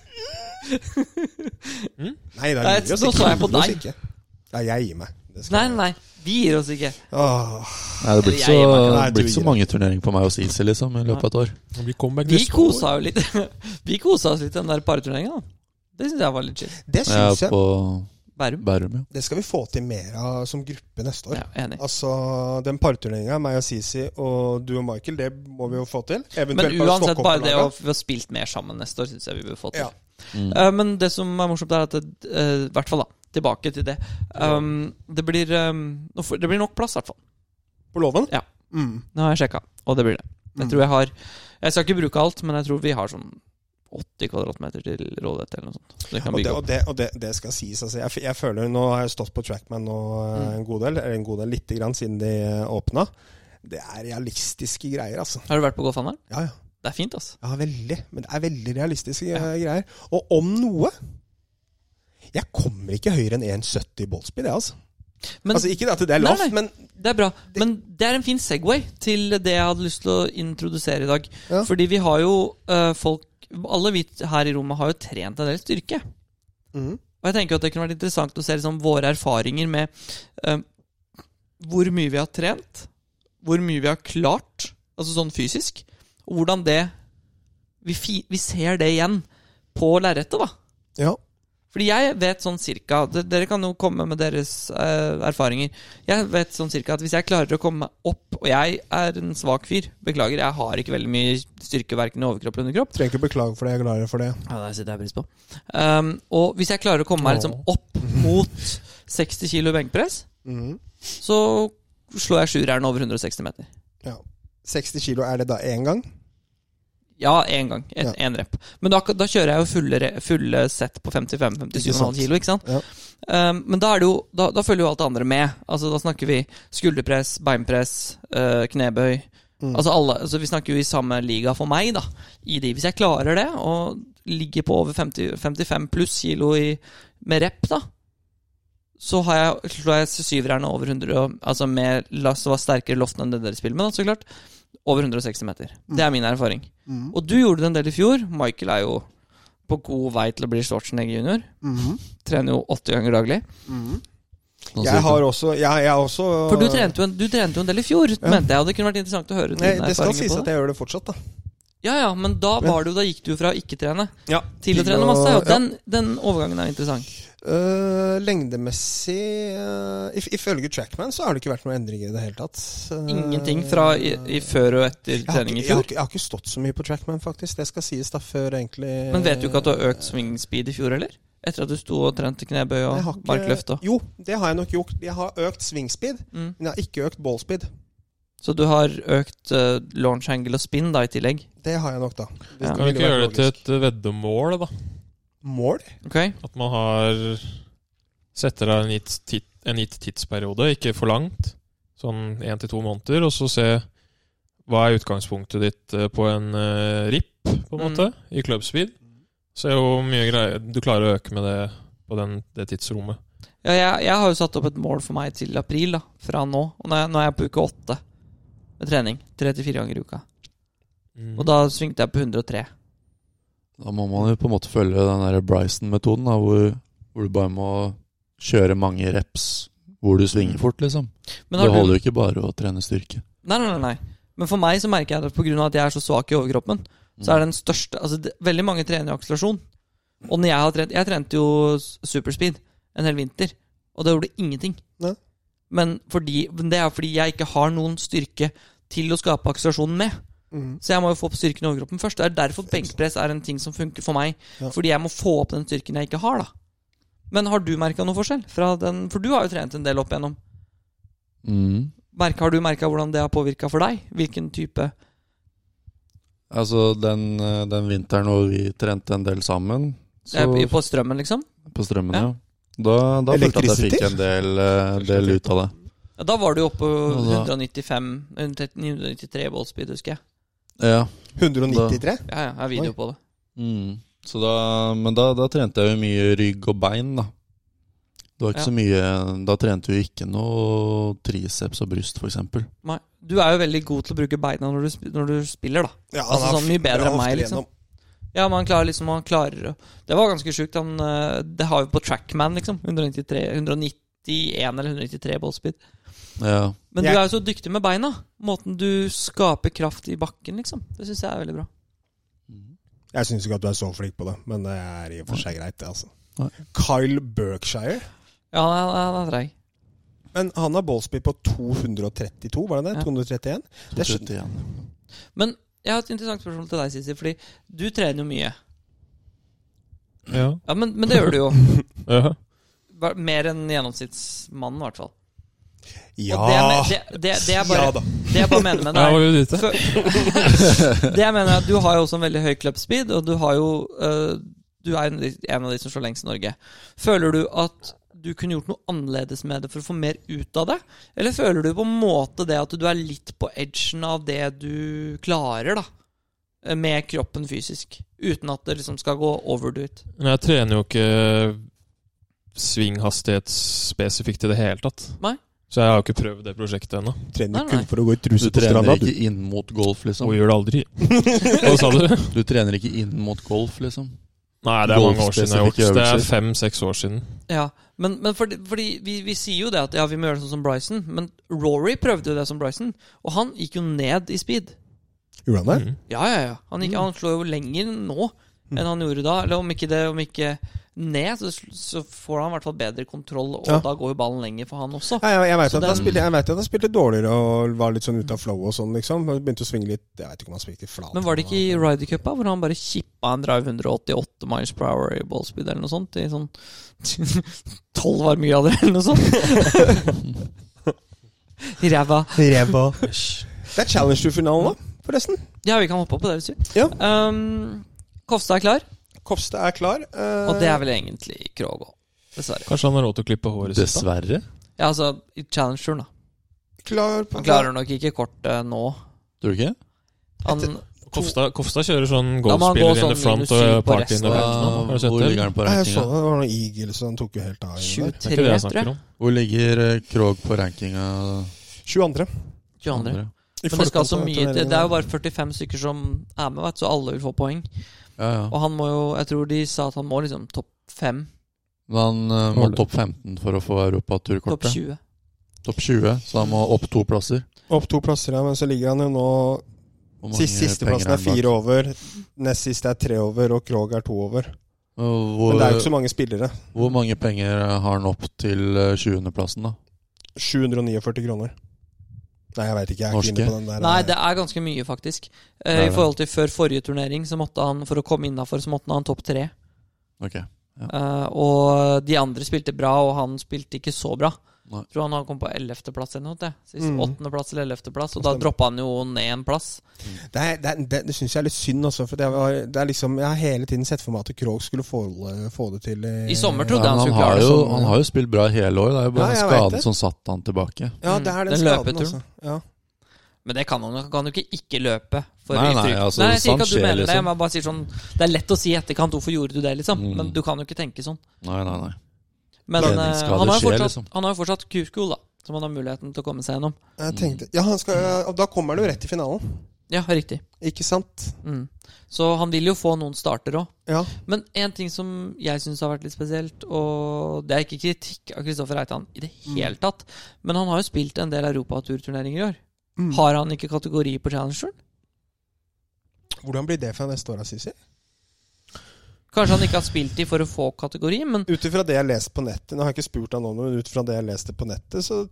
B: Mm. Nei, da
A: Nei,
B: gir vi oss
A: nå
B: ikke.
A: så jeg på
B: Vi gir oss
A: deg.
B: ikke. Ja, jeg gir meg. Det skal
A: Nei,
B: jeg.
A: nei, nei. Vi gir oss ikke.
B: Åh.
C: Nei, det blir ikke
A: Jeg-
C: så,
B: Nei,
C: det blir
B: du
C: ikke så
B: gir
C: mange turneringer på meg og Sisi liksom, i løpet av et år.
D: Det blir comeback
A: Vi
D: neste år.
A: kosa jo litt. Vi kosa oss litt i den der pareturneringa. da. Det syns jeg var litt chill.
B: Det
C: Jeg
B: syns
C: er
B: jeg.
C: på
A: Bærum.
C: Bærum, ja.
B: Det skal vi få til mer av som gruppe neste år.
A: Ja, enig.
B: Altså, Den parturneringa, meg og Sisi og du og Michael, det må vi jo få til.
A: Men
B: Eventuelt bare
A: uansett,
B: stokke opp
A: bare
B: på
A: det å
B: laget.
A: få spilt mer sammen neste år, syns jeg vi bør få til.
B: Ja.
C: Mm.
A: Eh, men det som er morsomt, er at det, eh, I hvert fall, da. Tilbake til det. Um, det, blir, um, nå får- det blir nok plass, i hvert fall.
B: På låven?
A: Ja.
B: Mm.
A: Nå har jeg sjekka, og det blir det. Jeg
B: Mm.
A: tror jeg har Jeg skal ikke bruke alt, men jeg tror vi har sånn 80 kvadratmeter til rådighet eller noe sånt. Så det kan
B: Og det,
A: bygge opp.
B: og det, og det, det skal sies. Altså, jeg, f- jeg føler, Nå har jeg stått på Trackman nå, eh,
A: Mm.
B: en god del, eller en god del lite grann, siden de eh, åpna. Det er realistiske greier, altså.
A: Har du vært på golfhandelen?
B: Ja, ja.
A: Det er fint, altså.
B: ja veldig. Men det er veldig realistiske eh, greier. Og om noe Jeg kommer ikke høyere enn 1,70 i ballspeed, jeg, altså.
A: Men
B: altså. Ikke at det er
A: Nei,
B: lavt,
A: nei.
B: men
A: det er bra. Men det er en fin Segway til det jeg hadde lyst til å introdusere i dag.
B: Ja.
A: Fordi vi har jo eh, folk Alle vi her i rommet har jo trent en del styrke.
B: Mhm.
A: Og jeg tenker at det kunne vært interessant å se liksom, våre erfaringer med eh, hvor mye vi har trent, hvor mye vi har klart, altså sånn fysisk, og hvordan det Vi, fi, vi ser det igjen på lerretet, da.
B: ja.
A: Fordi jeg vet sånn cirka de- Dere kan jo komme med deres eh, erfaringer. Jeg vet sånn cirka at hvis jeg klarer å komme meg opp Og jeg er en svak fyr. Beklager, jeg har ikke veldig mye styrke verken i overkropp eller underkropp.
B: Trenger ikke å beklage for det, jeg er glad for det.
A: Ja, det setter jeg pris på. Um, og hvis jeg klarer å komme meg liksom opp mot 60 kilo benkpress,
B: Mhm.
A: så slår jeg sjueren over 160 meter.
B: Ja. 60 kilo, er det da én gang?
A: Ja, én gang. Én
B: Ja.
A: én rep. Men da, da kjører jeg jo fulle, re- fulle sett på 55-57,5
B: sant.
A: kilo, ikke sant? Um, men da, er det jo, da, da følger jo alt det andre med. Altså, da snakker vi skulderpress, beinpress, eh, knebøy.
B: Mm.
A: Altså alle, altså Vi snakker jo i samme liga for meg, da. I de. Hvis jeg klarer det, og ligger på over 50, 55 pluss kilo i, med rep, da, så har jeg, slår jeg syverne over 100 og, Altså med la oss være sterkere loft enn det dere spiller med, da, så klart. Over 160 meter. Det er min erfaring.
B: Mhm.
A: Og du gjorde det en del i fjor. Michael er jo på god vei til å bli Schwarzenegger junior.
B: Mhm.
A: Trener jo åtte ganger daglig.
B: Mhm.
C: Sånn
B: Jeg
C: cirka.
B: har også, jeg, jeg har også
A: Mm. For du trente jo en, du trente jo en del i fjor, mente jeg. Og det kunne vært interessant å høre
B: Nei,
A: dine
B: Det skal
A: erfaringer
B: sies
A: på
B: at
A: det.
B: jeg gjør det fortsatt, da.
A: Ja, ja, men da, var det jo, da gikk du fra å ikke trene
B: Ja,
A: til å trene masse. Og den, den overgangen er interessant.
B: Øh, lengdemessig øh, if, Ifølge Trackman så har det ikke vært noen endringer i det hele tatt. Øh,
A: Ingenting fra i, i før og etter
B: jeg har,
A: trening
B: ikke,
A: i
B: jeg, har,
A: fjor.
B: ikke- jeg har ikke stått så mye på Trackman, faktisk. Det skal sies da før egentlig
A: Men vet du ikke at du har økt swing speed i fjor, eller? Etter at du sto og trente knebøy
B: Jeg har
A: og
B: ikke-
A: markløft og
B: Jo, det har jeg nok gjort. Jeg har økt swing speed,
A: mm.
B: men jeg har ikke økt ball speed.
A: Så du har økt eh, launch angle og spin da i tillegg.
B: Det har jeg nok, da. Hvis
A: Ja.
B: det
D: Kan vi
B: ville
D: ikke
B: vært
D: gjøre det til
B: logisk.
D: et eh, veddemål, da?
B: mål?
A: Ok?
D: At man har setter av en gitt, tid, en gitt tidsperiode, ikke for langt, sånn én til to måneder, og så se hva er utgangspunktet ditt eh, på en eh, RIP, på
A: Mm.
D: en måte, i club speed. Se hvor mye greier du klarer å øke med det på den, det tidsrommet.
A: Ja, jeg, jeg har jo satt opp et mål for meg til april, da, fra nå. Og nå er, nå er jeg på uke åtte med trening. Tre til fire ganger i uka. Og da svingte jeg på 103.
C: Da må man jo på en måte følge den der Bryson-metoden, da, hvor, hvor du bare må kjøre mange reps hvor du svinger fort, liksom.
A: Men
C: det
A: har du,
C: holder jo ikke bare å trene styrke.
A: nei, nei, nei, nei. Men for meg så merker jeg det pga. at jeg er så svak i overkroppen. Så er den største altså, det, Veldig mange trener jo akselerasjon. Og når jeg har trent Jeg trente jo s- superspeed en hel vinter, og det gjorde ingenting.
B: Nei.
A: Men, fordi, men det er fordi jeg ikke har noen styrke til å skape akselerasjon med.
B: Mm.
A: Så jeg må jo få opp styrken i overkroppen først. Det er derfor benkpress er en ting som funker for meg.
B: Ja.
A: Fordi jeg må få opp den styrken jeg ikke har, da. Men har du merka noe forskjell? Fra den, for du har jo trent en del opp igjennom.
C: Mm.
A: Merket- har du merka hvordan det har påvirka for deg? Hvilken type
C: Altså, den, eh, den vinteren hvor vi trente en del sammen så,
A: Eh, På strømmen, liksom?
C: På strømmen,
A: Ja.
C: ja. Da, da følte jeg at jeg
B: Elektrisitet?
C: fikk en del, eh, del ut av det.
A: Ja, da var du oppe på
C: Ja, da-
A: 195 193 ballspeed, husker jeg.
C: Ja.
B: 193?
A: Ja, ja, jeg har video
B: Oi.
A: på det.
C: Mm. Så da, men da, da trente jeg jo mye rygg og bein, da. Det var ikke
A: Ja.
C: så mye Da trente vi ikke noe triceps og bryst, for eksempel.
A: Nei. Du er jo veldig god til å bruke beina når du, sp- når du spiller, da.
B: Ja,
A: Altså,
B: han er
A: sånn mye bedre
B: bra
A: enn meg,
B: ofte
A: liksom.
B: igjennom.
A: Ja, man klarer liksom man klarer å- Det var ganske sjukt. Han, eh, det har vi på Trackman, liksom. 193, 191 eller 193 ballspeed.
C: Ja.
A: Men
B: Jeg-
A: du er jo så dyktig med beina. Måten du skaper kraft i bakken, liksom. Det syns jeg er veldig bra.
B: Jeg syns ikke at du er så flink på det, men det er i og for seg greit, det, altså.
C: Nei.
B: Kyle Berkshire,
A: Ja, han er- han er treig.
B: men han har ballspeed på 232, var det det?
A: Ja.
B: 231? Det skjønner
C: 31.
A: Men jeg har et interessant spørsmål til deg, Sisi. Fordi du trener jo mye.
D: Ja.
A: Ja, Men, men det gjør du jo.
D: Ja.
A: Hva- Mer enn gjennomsnittsmannen, i hvert fall.
B: Ja!
A: Og det, jeg men- det, det, det, jeg bare,
B: ja da.
A: det jeg bare mener med det
D: Ja,
A: er-
D: var du ute?
A: Fø- det jeg mener er at Du har jo også en veldig høy club speed, og du har jo øh, Du er en av de- en av de som slår lengst i Norge. Føler du at du kunne gjort noe annerledes med det for å få mer ut av det? Eller føler du på en måte det at du er litt på edgen av det du klarer, da? Eh, Med kroppen fysisk. Uten at det liksom skal gå overdo it.
D: Men jeg trener jo ikke svinghastighet spesifikt i det hele tatt.
A: Nei.
D: Så jeg har jo ikke prøvd det prosjektet ennå.
B: Trener
A: Nei,
B: kun
A: nei.
B: for å gå i
C: Du
B: truse på
C: trener
B: stranda, du.
C: ikke inn mot golf, liksom.
D: Og gjør det aldri. Hva sa du?
C: Du trener ikke inn mot golf, liksom.
D: Nei, det er mange år siden jeg har gjort.
C: Golfspesifikke
D: Det er
C: øvelser.
D: fem-seks år siden.
A: Ja, men, men fordi, fordi vi, vi sier jo det at ja, vi må gjøre det sånn som Bryson, men Rory prøvde jo det som Bryson, og han gikk jo ned i speed.
B: Gjorde han det?
D: Mm.
A: Ja, ja, ja. Han, gikk, han slår jo lenger nå
B: Mm.
A: enn han gjorde da. Eller om ikke, det, om ikke ned, så, sl- så får han i hvert fall bedre kontroll, og
B: Ja.
A: da går jo ballen lenger for han også.
B: Nei, jeg, jeg veit
A: Så
B: at, han
A: den-
B: spilte- jeg vet at han spilte dårligere og var litt sånn ute av flow og sånn, liksom. Han Begynte å svinge litt Jeg veit ikke om han spilte i flat.
A: Men var det ikke i Ryder Cup da, hvor han bare kippa en drive 188 miles per hour i ballspeed eller noe sånt? I sånn 12 varmegrader eller noe sånt? I ræva.
B: Ræva. Det er Challenge Tour-finalen, da, forresten.
A: Ja, vi kan hoppe opp på det hvis du
B: Ja.
A: Um, Kofstad er klar,
B: Kofstad er klar. eh,
A: og det er vel egentlig Krogå. Dessverre.
D: Kanskje han har råd til å klippe håret sitt? da?
C: Dessverre.
A: Ja, altså, i Challenger, da.
B: Eh, klar på
A: Han klarer nok ikke kortet nå.
C: Tror du ikke?
A: Han,
D: Kofstad, Kofstad kjører sånn
A: Da må han gå
D: golfspiller in the
A: sånn
D: front
A: minus syv
D: og
A: på
D: party in
A: resten
D: the
A: av-
D: back. nå. Har du sett
C: Hvor
D: det?
C: ligger han på
B: Nei, jeg så det.
C: rankinga?
B: Det var noen Eagles, og han tok jo helt av. i den der.
A: 23,
D: Det er ikke det jeg
A: tror jeg.
D: snakker om.
C: Hvor ligger eh, Krog på rankinga?
B: 22.
A: 22.
B: I
C: Andre.
A: Men det skal
B: forkant
A: så
B: av
A: mye til.
B: turneringen.
A: Det er jo bare 45 stykker som er med, vet, du, så alle vil få poeng.
C: Ja, ja.
A: Og han må jo Jeg tror de sa at han må liksom topp fem
C: Men han eh, må
D: Holder.
C: topp 15 for å få
A: Topp
C: europaturkortet.
A: 20.
C: Topp 20, så han må opp to plasser.
B: Opp to plasser, ja, men så ligger han jo nå
C: Hvor mange
B: Sist,
C: penger
B: Sisteplassen
C: han
B: er
C: bak?
B: fire over, nest siste er tre over, og Krog er to over.
C: Og Hvor,
B: Men det er jo ikke så mange spillere.
C: hvor mange penger har han opp til eh, 20.-plassen, da?
B: 749 kroner. Nei, jeg veit ikke. Jeg er ikke
C: Norske?
B: inne på den der.
A: Nei, det er ganske mye, faktisk.
C: Det er
A: Eh, I
C: det.
A: forhold til før forrige turnering, så måtte han, for å komme innafor, så måtte han ha en topp tre.
C: Ok.
A: Eh, og de andre spilte bra, og han spilte ikke så bra.
C: Nei.
A: Jeg tror han han kom på 11.-plass eller noe. sånt, jeg. Sist
B: Mm.
A: Åttendeplass eller 11.-plass, og da
B: Stemmer.
A: droppa han jo ned en plass.
B: Det, er, det, er, det, det syns jeg er litt synd også. For det var, det er liksom, jeg har hele tiden sett for meg at Krog skulle få, få det til eh,
A: I sommer
C: Ja,
A: trodde jeg
C: men
A: han
C: han,
A: skulle
C: har
A: klare det.
C: jo,
B: sånn,
C: han
B: ja.
C: har jo spilt bra i hele år. Det er jo bare
B: Ja, jeg vet det.
C: skaden som satte han tilbake.
B: Ja, det er den,
A: Den
B: skaden,
A: løpeturen.
B: altså. Ja.
A: Men det kan han jo. Kan jo ikke ikke løpe. For
C: Nei,
A: i
C: nei,
A: frykt.
C: altså,
A: nei, jeg sier ikke
C: sånt
A: at du
C: skjer,
A: mener det.
C: liksom.
A: Jeg bare sier sånn Det er lett å si i etterkant hvorfor gjorde du det, liksom.
C: Mm.
A: Men du kan jo ikke tenke sånn.
C: Nei, nei, nei.
A: Men eh,
C: Treningsskader
A: han har jo
C: skjer,
A: fortsatt,
C: liksom.
A: han har jo fortsatt kurskol, da. Som han har muligheten til å komme seg gjennom.
B: Jeg tenkte, ja, han skal, og da kommer han jo rett i finalen.
A: Ja, riktig.
B: Ikke sant?
A: Mm. Så han vil jo få noen starter òg.
B: Ja.
A: Men en ting som jeg syns har vært litt spesielt, og det er ikke kritikk av Kristoffer Reitan i det hele tatt, men han har jo spilt en del europaturturneringer i år.
B: Mm.
A: Har han ikke kategori på challengeren?
B: Hvordan blir det fra neste år, Sisi?
A: Kanskje han ikke har spilt de for å få kategori, men
B: Ut ifra det jeg har lest på nettet, nå har jeg ikke spurt han om det, men ut fra det jeg leste på nettet, så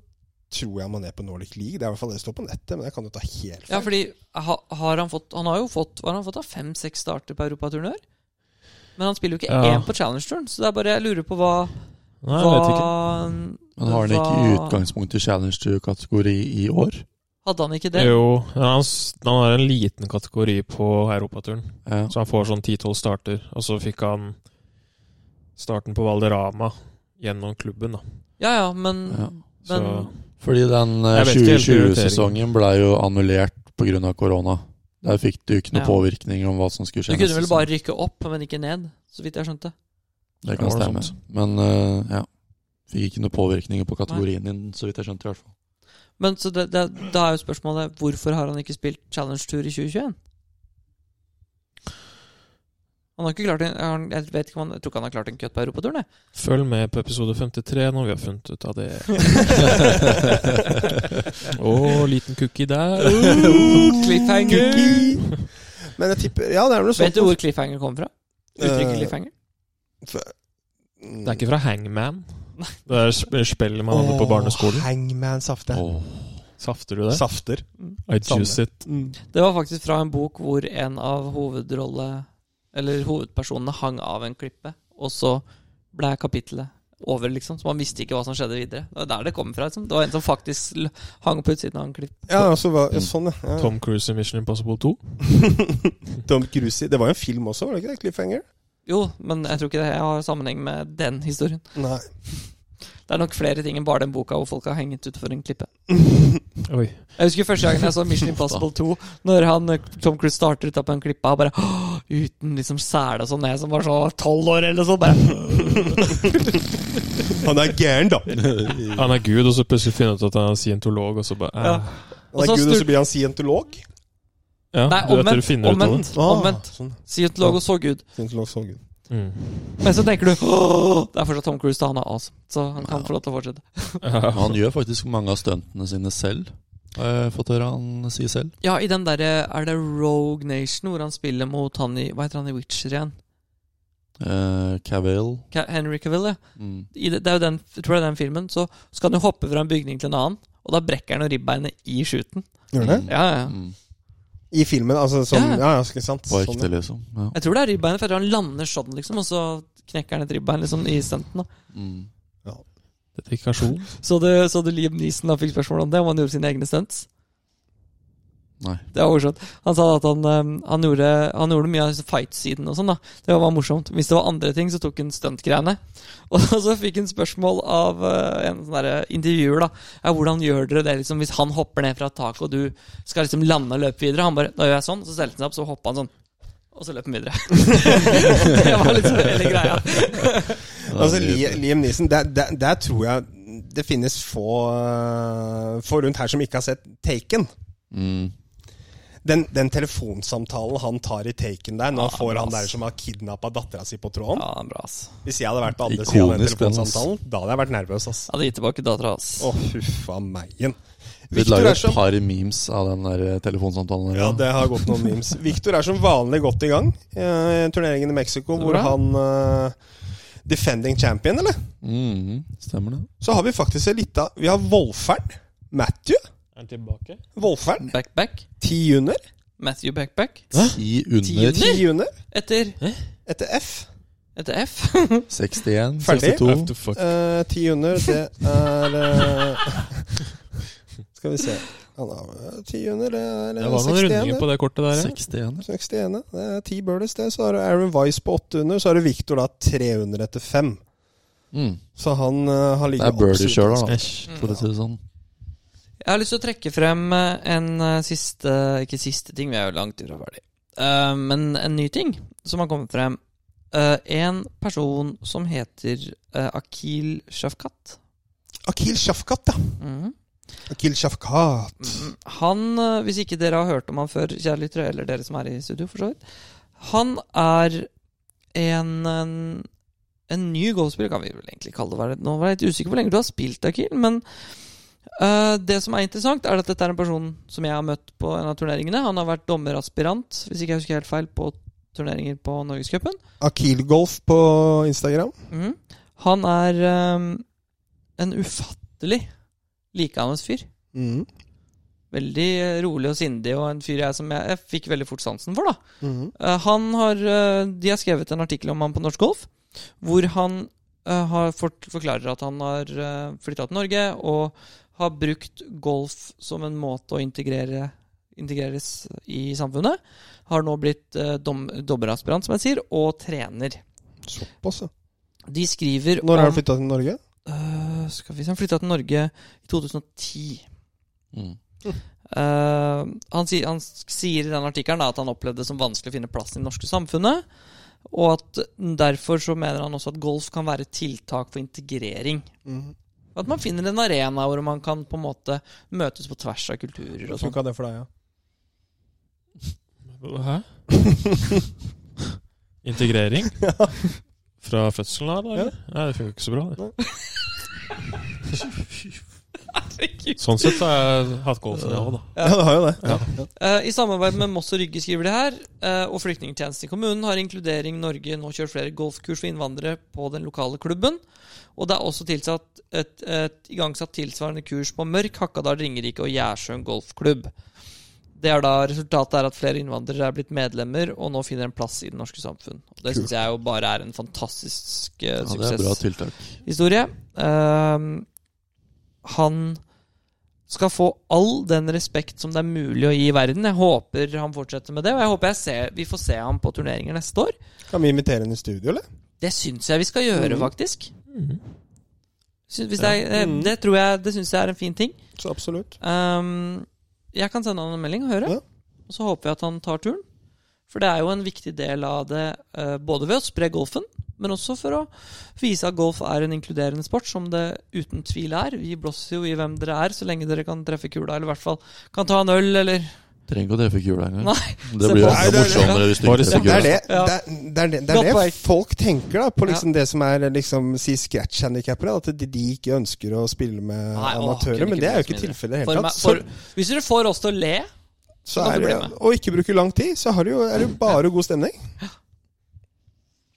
B: tror jeg man er på Nordic League. Det er i hvert fall det som står på nettet, men jeg kan jo ta helt feil.
A: ja, fordi ha, har han fått Han har jo fått Hva har han fått av fem-seks starter på europaturen i år? Men han spiller jo ikke
D: Ja.
A: én på challengeturen, så det er bare jeg lurer på hva
D: Nei, jeg vet ikke.
C: Men har han ikke i utgangspunktet challenge-kategori i år?
A: Hadde han ikke det?
D: Jo, ja, han, s- han har en liten kategori på europaturen.
C: Ja.
D: Så han får sånn 10-12 starter. Og så fikk han starten på Valderama gjennom klubben, da.
A: Ja ja, men,
C: Ja.
D: Så
A: men
C: Fordi den
D: Jeg vet ikke helt
C: 2020-sesongen ble jo annullert pga. korona. Der fikk du ikke noe
A: Ja.
C: påvirkning om hva som skulle
A: Du
C: skje.
A: kunne
C: neste
A: vel bare rykke opp, men ikke ned, så vidt jeg skjønte.
C: sesong. Det kan
D: Ja, det var
C: stemme.
D: noe
C: Men eh, ja. Fikk ikke noe påvirkning på kategorien din, så vidt jeg skjønte. i hvert fall.
A: Men så det, det, da er jo spørsmålet hvorfor har han ikke spilt Challenge Tour i 2021? Han har ikke klart en, han, jeg, vet ikke om han, jeg tror ikke han har klart en cut på europaturen. jeg.
D: følg med på episode 53 når vi har funnet ut av det. Å, liten cookie der.
A: Uh. Cliffhanger!
B: Men jeg tipper Ja, det er vel noe sånt. Eh,
A: Vet du hvor cliffhanger kommer fra? Uttrykket cliffhanger?
D: Det er ikke fra Hangman. Det er sp- spillet man hadde på barneskolen.
B: Hangman safte.
C: Åh.
D: Safter du det?
B: Safter.
D: I juice it.
A: Det var faktisk fra en bok hvor en av hovedrolle... Eller hovedpersonene hang av en klippe, og så ble kapittelet over, liksom. Så man visste ikke hva som skjedde videre. Det var der det kommer fra. Liksom. Det var en som faktisk l- hang på utsiden av en klippe.
B: Ja, altså, hva- ja, sånn, ja. ja.
D: Tom Cruise i Mission Impossible 2.
B: Tom Cruise. i- Det var jo en film også, var det ikke det? Cliffhanger?
A: Jo, men jeg tror ikke det har sammenheng med den historien.
B: Nei.
A: Det er nok flere ting enn bare den boka hvor folk har hengt utfor en klippe.
D: Oi.
A: Jeg husker første gangen jeg så Mission Impossible 2, når han, eh, Tom Cruise starter ut av på en klippe og bare «Åh», Uten liksom sele og sånn, jeg som var så tolv år eller sånn. Bare.
B: Han er gæren, da!
D: Han er gud, og så plutselig finner han ut at han er scientolog, og så bare eh.
A: Ja.
B: Han er
A: Og så
B: gud, og
A: stur-
B: så blir han scientolog.
D: Ja,
A: Nei,
D: du vet dere
A: omvendt.
D: finner ut av det.
A: Omvendt. omvendt.
B: Ah, sånn.
A: Scientolog og så Gud.
B: Scientolog, så gud.
D: Mm.
A: Men så tenker du «Åh, Det er fortsatt Tom Cruise, da. Han er awesome. Så han kan få lov til å fortsette.
D: Ja.
C: Han gjør faktisk mange av stuntene sine selv, har jeg fått høre han si selv.
A: Ja, i den derre Er det Rogue Nation hvor han spiller mot han i Hva heter han i Witcher igjen?
C: Eh, Cavill.
A: Ca- Henry Cavill, ja.
C: Mm.
A: i det, det er jo den, jeg tror det er den filmen, så skal han jo hoppe fra en bygning til en annen, og da brekker han jo ribbeinet i shooten.
B: Gjør han det?
A: Ja, ja.
C: Mm.
B: I filmen, altså som
A: Ja.
B: Ja, ja, ikke sant.
C: På
B: Sånn,
C: ekte, liksom. Ja.
A: Jeg tror det er ribbeinet, for jeg tror han lander sånn, liksom, og så knekker han et ribbein liksom, i stunten. da.
C: Mm.
D: Dedikasjon.
A: Så du, så du Liam Neeson da fikk spørsmål om det, om han gjorde sine egne stunts?
C: Nei.
A: Det var morsomt. Han sa at han, eh, han, gjorde, han gjorde mye av fight-siden og sånn, da. Det var morsomt. Hvis det var andre ting, så tok han stuntgreiene. Og så fikk han spørsmål av eh, en sånn derre intervjuer, da. Ja, hvordan gjør dere det, liksom, hvis han hopper ned fra taket, og du skal liksom lande og løpe videre? Han bare Da gjør jeg sånn, så stelte han seg opp, så hoppa han sånn. Og så løp han videre. det var liksom hele greia.
B: Altså, Li- Liam Neeson, der, der, der tror jeg det finnes få, eh, få rundt her som ikke har sett Taken.
C: Mm.
B: Den, den telefonsamtalen han tar i taken der, når
A: Ja,
B: han får han
A: Ah, ass.
B: der som har kidnappa dattera si på tråden
A: Ja, den er bra, ass.
B: Hvis jeg hadde vært på andre sida av den
C: Ikonisk, den, ass.
B: telefonsamtalen, da hadde jeg vært nervøs, ass.
A: Jeg hadde gitt tilbake dattera hans.
B: Å, huffa meien.
C: Vi
B: Victor
C: lager
B: er som-
C: et par memes av den der eh, telefonsamtalen.
B: Ja,
C: her, da.
B: det har gått noen memes. Victor er som vanlig godt i gang eh, i turneringen i Mexico, hvor
A: Bra.
B: han eh, Defending champion, eller?
C: Mhm, stemmer det.
B: Så har vi faktisk en lita Vi har Wolfern. Matthew.
D: Er han tilbake?
B: Wolfern.
A: Backback.
B: Ti under.
A: Matthew Backback.
C: Ti under
A: Tiende?
B: Ti under.
A: Etter,
B: Etter F.
A: etter F.
C: 61,
B: Ferdig.
C: 62
D: After fuck.
B: Eh, Ti under, det er eh, Skal vi se Han har- Ti under, det er eh,
D: Det var noen
B: 61.
D: rundinger på det kortet der. ja.
C: 61.
B: 61. Det er ti birdies, det. Så har du Aaron Wise på åtte under. Så har du Victor da tre under etter fem.
C: Mm.
B: Så han eh, har
C: Det
B: ligget
C: er birdie
B: absolutt
C: sjøl, da.
D: Æsj.
C: For å si det sånn.
A: Jeg har lyst til å trekke frem eh, en eh, siste Ikke siste ting, vi er jo langt ifra ferdig. Eh, men en ny ting som har kommet frem. Eh, en person som heter eh, Akil Shafkat.
B: Akil Shafkat, ja.
A: Mhm.
B: Akil Shafkat.
A: Mm, Han, eh, hvis ikke dere har hørt om han før, kjære lyttere, eller dere som er i studio, for så vidt Han er en, en, en ny golfspiller, kan vi vel egentlig kalle det. Var det- Nå var jeg litt usikker på hvor lenge du har spilt, Akil, men eh, det som er interessant, er at dette er en person som jeg har møtt på en av turneringene. Han har vært dommeraspirant, hvis ikke jeg husker helt feil, på turneringer på Norgescupen.
B: Akil Golf på Instagram.
A: Mhm. Han er eh, en ufattelig likeende fyr. Mm.
B: Mhm.
A: Veldig eh, rolig og sindig, og en fyr jeg som jeg, jeg fikk veldig fort sansen for. da.
B: Mhm.
A: Eh, Han har, eh, De har skrevet en artikkel om han på Norsk Golf, hvor han eh, har fort, forklarer at han har flytta til Norge og har brukt golf som en måte å integrere integreres i samfunnet. Har nå blitt eh, dom, dommeraspirant, som jeg sier, og trener.
B: Såpass, ja.
A: De skriver
B: Når
A: om
B: har han flytta til Norge?
A: Eh, Skal vi se, han flytta til Norge i 2010.
C: Mm.
A: Eh, han, sier, han sier i den artikkelen da at han opplevde det som vanskelig å finne plass i det norske samfunnet. Og at derfor så mener han også at golf kan være et tiltak for integrering.
B: Mhm.
A: At man finner en arena hvor man kan på en måte møtes på tvers av kulturer. og sånt.
B: Funka det sånn. for deg, ja?
D: Hæ? Integrering? Fra fødselen av, da? eller? Nei, det funker ikke så bra. Det. Sånn sett så har jeg hatt golfen, jeg òg, da.
B: Ja, det har jo det.
A: Eh, I samarbeid med Moss og Rygge skriver det her, eh, og flyktningtjenesten i kommunen har Inkludering Norge nå kjørt flere golfkurs for innvandrere på den lokale klubben. Og det er også tilsatt et, et igangsatt tilsvarende kurs på Mørk, Hakadal, Ringerike og Gjersjøen golfklubb. Det er da Resultatet er at flere innvandrere er blitt medlemmer og nå finner en plass i det norske samfunn. Og Det syns jeg jo bare er en fantastisk eh,
C: Ja, det er bra
A: suksess
C: tiltak.
A: historie. Ehm, han skal få all den respekt som det er mulig å gi i verden. Jeg håper han fortsetter med det, og jeg håper jeg ser, vi får se ham på turneringer neste år.
B: Kan vi invitere henne i studio, eller?
A: Det syns jeg vi skal gjøre, faktisk. Sy- Hvis det, er,
B: Mm.
A: eh, det tror jeg Det syns jeg er en fin ting.
B: Så absolutt.
A: Ehm, jeg kan sende han en melding og høre,
B: Ja.
A: og så håper jeg at han tar turen. For det er jo en viktig del av det, eh, både ved å spre golfen, men også for å vise at golf er en inkluderende sport, som det uten tvil er. Vi blåser jo i hvem dere er, så lenge dere kan treffe kula, eller i hvert fall kan ta en øl, eller
C: Trenger ikke å treffe kula engang.
A: Nei.
C: Det
A: se
C: blir jo
A: på-
B: Nei,
C: enda
B: det er-
C: morsommere hvis du
D: Bare
C: ikke treffer
B: Det er
C: kula.
B: det,
A: Ja.
B: det, er, det, er det, det,
A: Godt
B: er det
A: poeng.
B: folk tenker da på liksom det som er liksom, si scratch-handikappere. At de, de ikke ønsker å spille med
A: Nei, å,
B: amatører.
A: kunne ikke
B: Men det er jo
A: bli
B: ikke
A: oss mindre.
B: tilfellet i det
A: For
B: hele
A: meg-
B: tatt. Så,
A: for- Hvis dere får oss til å le
B: så
A: kan
B: er
A: du
B: det,
A: bli med.
B: og ikke bruke lang tid, så har du jo, er det jo bare god stemning.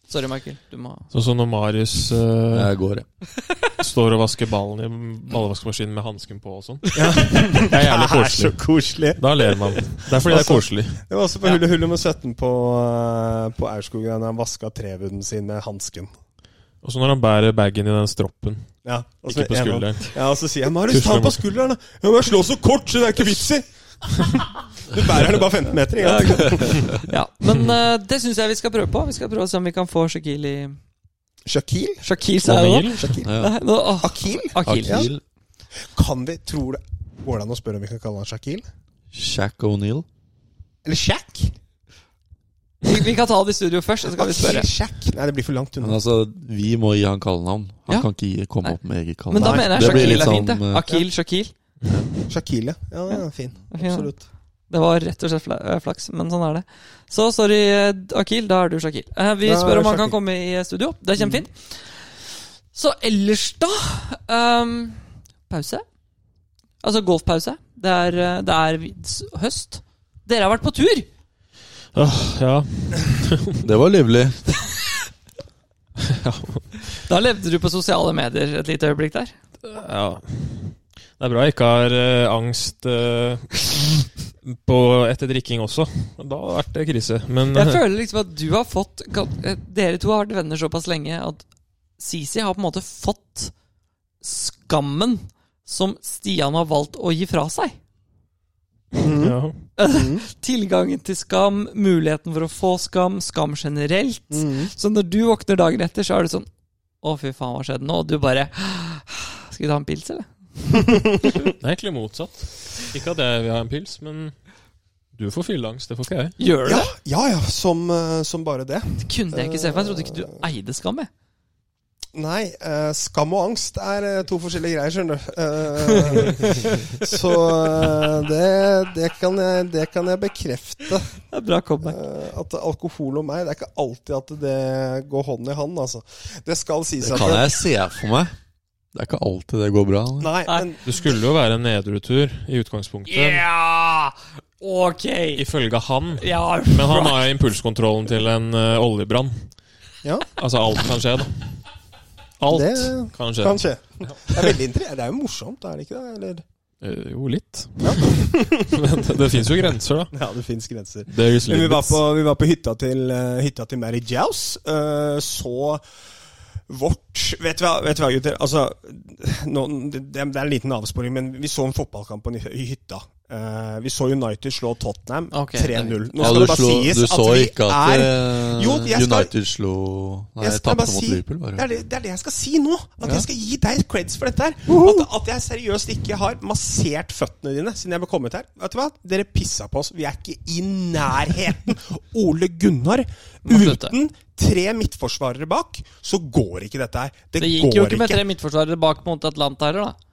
A: Sorry, Michael. Du må
D: Sånn som når Marius eh,
C: Jeg går, jeg.
D: står og vasker ballen i ballevaskemaskinen med hansken på og sånn. Det er Altså- jævlig koselig.
B: koselig.
D: Da ler man. Det er fordi det er koselig.
B: Det var også på hullet hull nummer 17 på, eh, på Aurskogen da han vaska trevuden sin med hansken.
D: Og så når han bærer bagen i den stroppen,
B: Ja, og så
D: ikke på
B: en-
D: skulderen.
B: Ja, og så sier jeg 'Marius, ta
D: Tusler
B: den på
D: mot-
B: skulderen', da. Ja, men jeg slår så kort, så det er ikke vits i. Du bærer den bare 15 meter. Ikke? sant?
A: Ja. Men eh, det syns jeg vi skal prøve på. Vi skal prøve å se om vi kan få Shakil i
B: Shakil?
A: Shakil, sa jeg nå?
D: Vanil?
B: Shakil.
C: Ja.
A: Nei, nå- åh,
B: Akil?
A: Akil.
B: Ja.
C: Akil,
B: Kan vi, tror det Går det an å spørre om vi kan kalle han Shakil?
C: Shaq O'Neill.
B: Eller Shaq?
A: Vi, vi kan ta det i studio først, og så kan vi spørre.
B: Akil Shaq? Nei, det blir for langt
C: Men
B: unna.
C: altså, vi må gi han kallenavn. Han
A: Ja.
C: kan ikke gi, komme
A: Nei.
C: opp med eget
A: Men da
C: kallenavn.
B: Nei,
A: mener
C: det
A: jeg
C: blir sånn, eh,
A: Shakil
C: litt
A: er fint.
C: sånn,
A: det.
C: eh,
A: Akil, Shakil.
B: Shakil, ja. ja. Den er fin.
A: Fin, ja.
B: Absolutt.
A: Det var rett og slett fla- eh, flaks, men sånn er det. Så sorry, eh, Akil. Da er du Shakil. Eh, Vi
B: Da er
A: spør om han
B: Shakil.
A: kan komme i eh, studio. Det er kjempefint. Så ellers, da ehm, Pause. Altså golfpause. Det er, eh, det er vi- s- høst. Dere har vært på tur!
D: Åh, ja.
C: Det var livlig.
A: Da levde du på sosiale medier et lite øyeblikk der.
D: ja. Det er bra jeg ikke har eh, angst eh, på, etter drikking også. Da har det vært eh, krise. Men
A: Jeg føler liksom at du har fått gan- eh, Dere to har vært venner såpass lenge at Sisi har på en måte fått skammen som Stian har valgt å gi fra seg.
D: eh, ja.
A: Tilgangen til skam, muligheten for å få skam, skam generelt. Så når du våkner dagen etter, så er du sånn Å, fy faen, hva skjedde nå? Og du bare Skal vi ta en pils, eller?
D: Det er egentlig motsatt. Ikke at jeg vil ha en pils, men du får fylleangst. Det får ikke jeg.
A: Gjør du
B: Ja, ja, ja som, eh, som bare det.
A: det? Kunne jeg ikke se for meg. Jeg trodde ikke du eide skam, jeg.
B: Nei, eh, skam og angst er eh, to forskjellige greier, skjønner du. Eh, så eh, det, det, kan jeg, det kan jeg bekrefte.
A: Det er bra comeback.
B: eh, at alkohol og meg, det er ikke alltid at det går hånd i hånd, altså. Det skal sies
C: Det
B: at
C: kan jeg se for meg. Det er ikke alltid det går bra. eller?
B: Nei,
A: Nei.
B: men
D: Det skulle jo være en nedretur i utgangspunktet,
A: Ja! Ok!
D: ifølge han.
A: Ja,
D: Men han har jo impulskontrollen til en eh, oljebrann.
B: ja,
D: Altså, alt kan skje, da. Alt
B: Det
D: kan skje.
B: kan skje. Det er veldig interessant. Det er jo morsomt, er det ikke det? Eller?
D: Eh, jo, litt. Men det, det fins jo grenser, da.
B: Ja, det fins grenser.
D: There is
B: Men vi var
D: limits.
B: på, vi var på hytta, til, eh, hytta til Mary Jaus. eh, så vårt Vet du hva, vet du hva gutter? Altså, nå, det, det er en liten avsporing, men vi så en fotballkamp på ny- i hytta. Eh, vi så United slå Tottenham
A: Ok,
B: 3-0. Nå
C: Ja,
B: skal
C: du,
B: det bare
C: slo,
B: sies
C: du
B: at
C: så
B: vi
C: ikke at
B: er
C: eh,
B: Jo, jeg skal-
C: United slo Nei,
B: Jeg skal
C: tapte
B: bare
C: mot
B: si-
C: Liverpool,
B: det er
C: bare.
B: det, det er det jeg skal si nå. At jeg skal gi deg creds for dette her. At, at jeg seriøst ikke har massert føttene dine siden jeg ble kommet her. Vet du hva? Dere pissa på oss. Vi er ikke i nærheten. Ole Gunnar,
A: Må slutte.
B: uten tre midtforsvarere bak, så går ikke dette her. Det,
A: Det gikk
B: går
A: jo ikke med
B: ikke.
A: tre midtforsvarere bak mot Atlanta heller, da.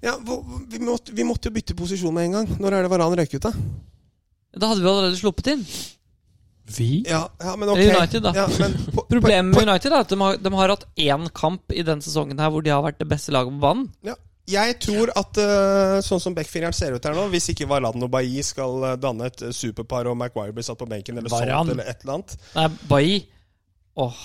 B: Ja, hvor- vi, måtte, vi måtte jo bytte posisjon med en gang. Når er det Varan røyk ut, da?
A: Da hadde vi allerede sluppet inn.
D: Vi?
B: Ja, ja, men ok.
A: United, da.
B: Ja, men po-
A: Problemet
B: po-
A: med United er at de har, de har hatt én kamp i denne sesongen her hvor de har vært det beste laget på banen.
B: Ja. Jeg tror at eh, sånn som backfireren ser ut her nå, hvis ikke Varan og Bailly skal eh, danne et eh, superpar og Maguire blir satt på benken eller
A: Varane.
B: sånt eller et eller annet
A: Nei, Bailly Åh,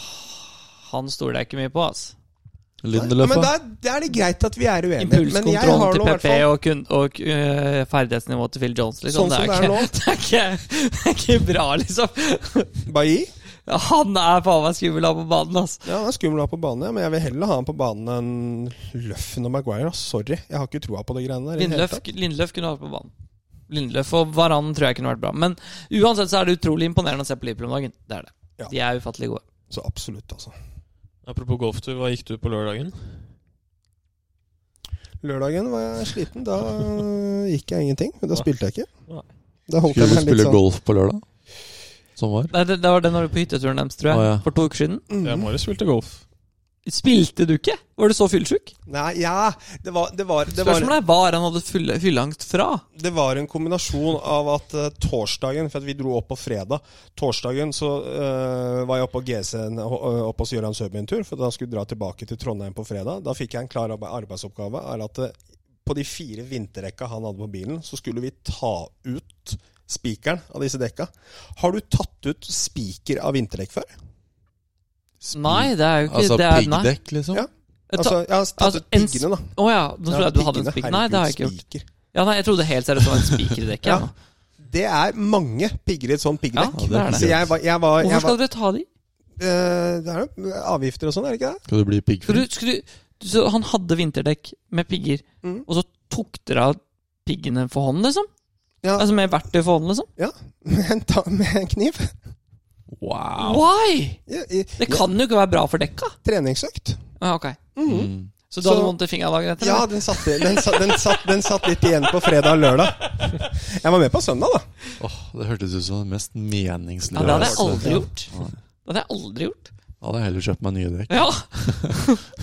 A: han stoler jeg ikke mye på, ass.
B: Ja, Men
C: Lindeløf,
B: da,
C: da?
B: da er det greit at vi er uenige. Men jeg
A: Impulskontrollen
B: har
A: til
B: nå i hvert
A: PP
B: fall
A: og, kun, og øh, ferdighetsnivået til Phil Jones, liksom.
B: Sånn som det er nå.
A: det, er ikke, det, er ikke, det er ikke bra, liksom.
B: Bailly.
A: Han er faen meg skummel av på banen, ass.
B: Ja, han er skummel å ha på banen, ja, men jeg vil heller ha han på banen enn Løffen og Maguire. ass. Sorry, jeg har ikke troa på de greiene der. i det hele
A: Lindløf,
B: tatt.
A: Lindløf kunne vært på banen. Lindløf og Varan tror jeg kunne vært bra. Men uansett så er det utrolig imponerende å se på Liverpool om dagen. Det er det.
B: Ja.
A: De er ufattelig gode.
B: Så absolutt, altså.
D: Apropos golftur, hva gikk du på lørdagen?
B: Lørdagen var jeg sliten. Da eh, gikk jeg ingenting. men Da spilte jeg
D: Nei.
B: ikke. Da holdt
C: Skulle
B: jeg
C: du
B: meg litt
C: spille
B: sånn.
C: golf på lørdag? Som var?
A: Nei, det, det var den når du på hytteturen deres, tror jeg.
C: Å, ja.
A: For to uker siden.
B: Mhm.
D: Jeg bare spilte golf.
A: Spilte du ikke? Var du så fyllesyk?
B: Nei, ja Det var, det var, det var
A: Spørsmålet er hva er han hadde fylle- fylleangst fra?
B: Det var en kombinasjon av at eh, torsdagen For at vi dro opp på fredag. Torsdagen så eh, var jeg oppe på GC-en eh, oppe hos Gøran Søby en tur, for da skulle jeg dra tilbake til Trondheim på fredag. Da fikk jeg en klar arbe- arbeidsoppgave. Er at eh, på de fire vinterrekka han hadde på bilen, så skulle vi ta ut spikeren av disse dekka. Har du tatt ut spiker av vinterdekk før?
A: Nei, det er jo ikke
C: Altså
A: det er, nei.
C: piggdekk, liksom?
B: Ja.
A: Jeg
B: Altså,
A: ta-
B: jeg har tatt
A: altså,
B: ut
A: en
B: piggene, da.
A: Å ja, nå trodde jeg at du hadde en spiker. Nei, det har jeg ikke gjort. Ja, nei, Jeg trodde helt seriøst det var en spiker i dekket.
B: Ja,
A: jeg, nå.
B: Det er mange pigger i et sånt
A: ja,
B: piggdekk.
A: det er
B: Så
A: det.
B: jeg var, jeg var, jeg
A: Hvorfor
B: var
A: skal dere ta de?
B: Eh, Det er jo avgifter og sånn, er det ikke det?
C: Skal du bli
A: Skal du,
C: piggfri?
A: skal du, så han hadde vinterdekk med pigger,
B: Mhm.
A: og så tok dere av piggene for hånd, liksom?
B: Ja.
A: Altså med verktøy for hånd, liksom?
B: Med en, ta med en kniv.
C: Wow!
A: Why?!
B: Ja, i,
A: Det kan jo ikke være bra for dekka.
B: treningsøkt.
A: Ja, ok.
B: Mhm.
C: Mm.
A: Så du hadde
B: Så-
A: vondt i fingeren dagen etter?
B: Ja,
A: eller?
B: den satt, den, satt, den, satt, den satt litt igjen på fredag og lørdag. Jeg var med på søndag, da.
C: Åh, det hørtes ut som det mest meningsløse
A: ja, det hadde jeg aldri
C: Ja.
A: gjort. Det hadde jeg aldri gjort.
C: Da hadde jeg heller kjøpt meg nye dekk.
A: Ja!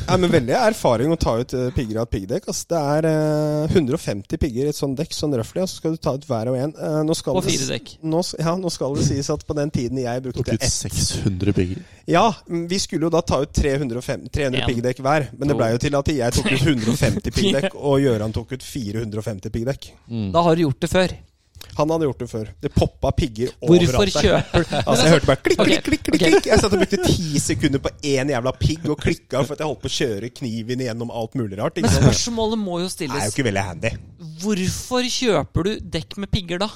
B: Nei, men Veldig erfaring å ta ut eh, pigger av et piggdekk. ass. det er eh, 150 pigger i et sånt dekk, sånn røftlig, og så skal du ta ut hver og en. Eh, nå skal
A: På
B: det s-
A: fire dekk.
B: Nå, s- ja, nå skal det sies at på den tiden jeg brukte
C: Tok ut
B: ett
C: 600 pigger.
B: Ja, mm, vi skulle jo da ta ut 305, 300
A: En.
B: piggdekk hver. Men det
A: To.
B: blei jo til at jeg tok ut 150 piggdekk, og Gøran tok ut 450 piggdekk.
C: Mm.
A: Da har du gjort det før.
B: Han hadde gjort det før. Det poppa pigger
A: Hvorfor
B: overalt. der.
A: kjøper du
B: Altså, jeg hørte bare klikk,
A: Ok,
B: klikk, klikk. klikk,
A: ok.
B: klikk. Jeg satt og brukte ti sekunder på én jævla pigg og klikka for at jeg holdt på å kjøre kniven gjennom alt mulig rart.
A: Men
B: Ikke sant?
A: spørsmålet må jo
B: Det er jo
A: stilles.
B: ikke veldig handy.
A: Hvorfor kjøper du dekk med pigger da?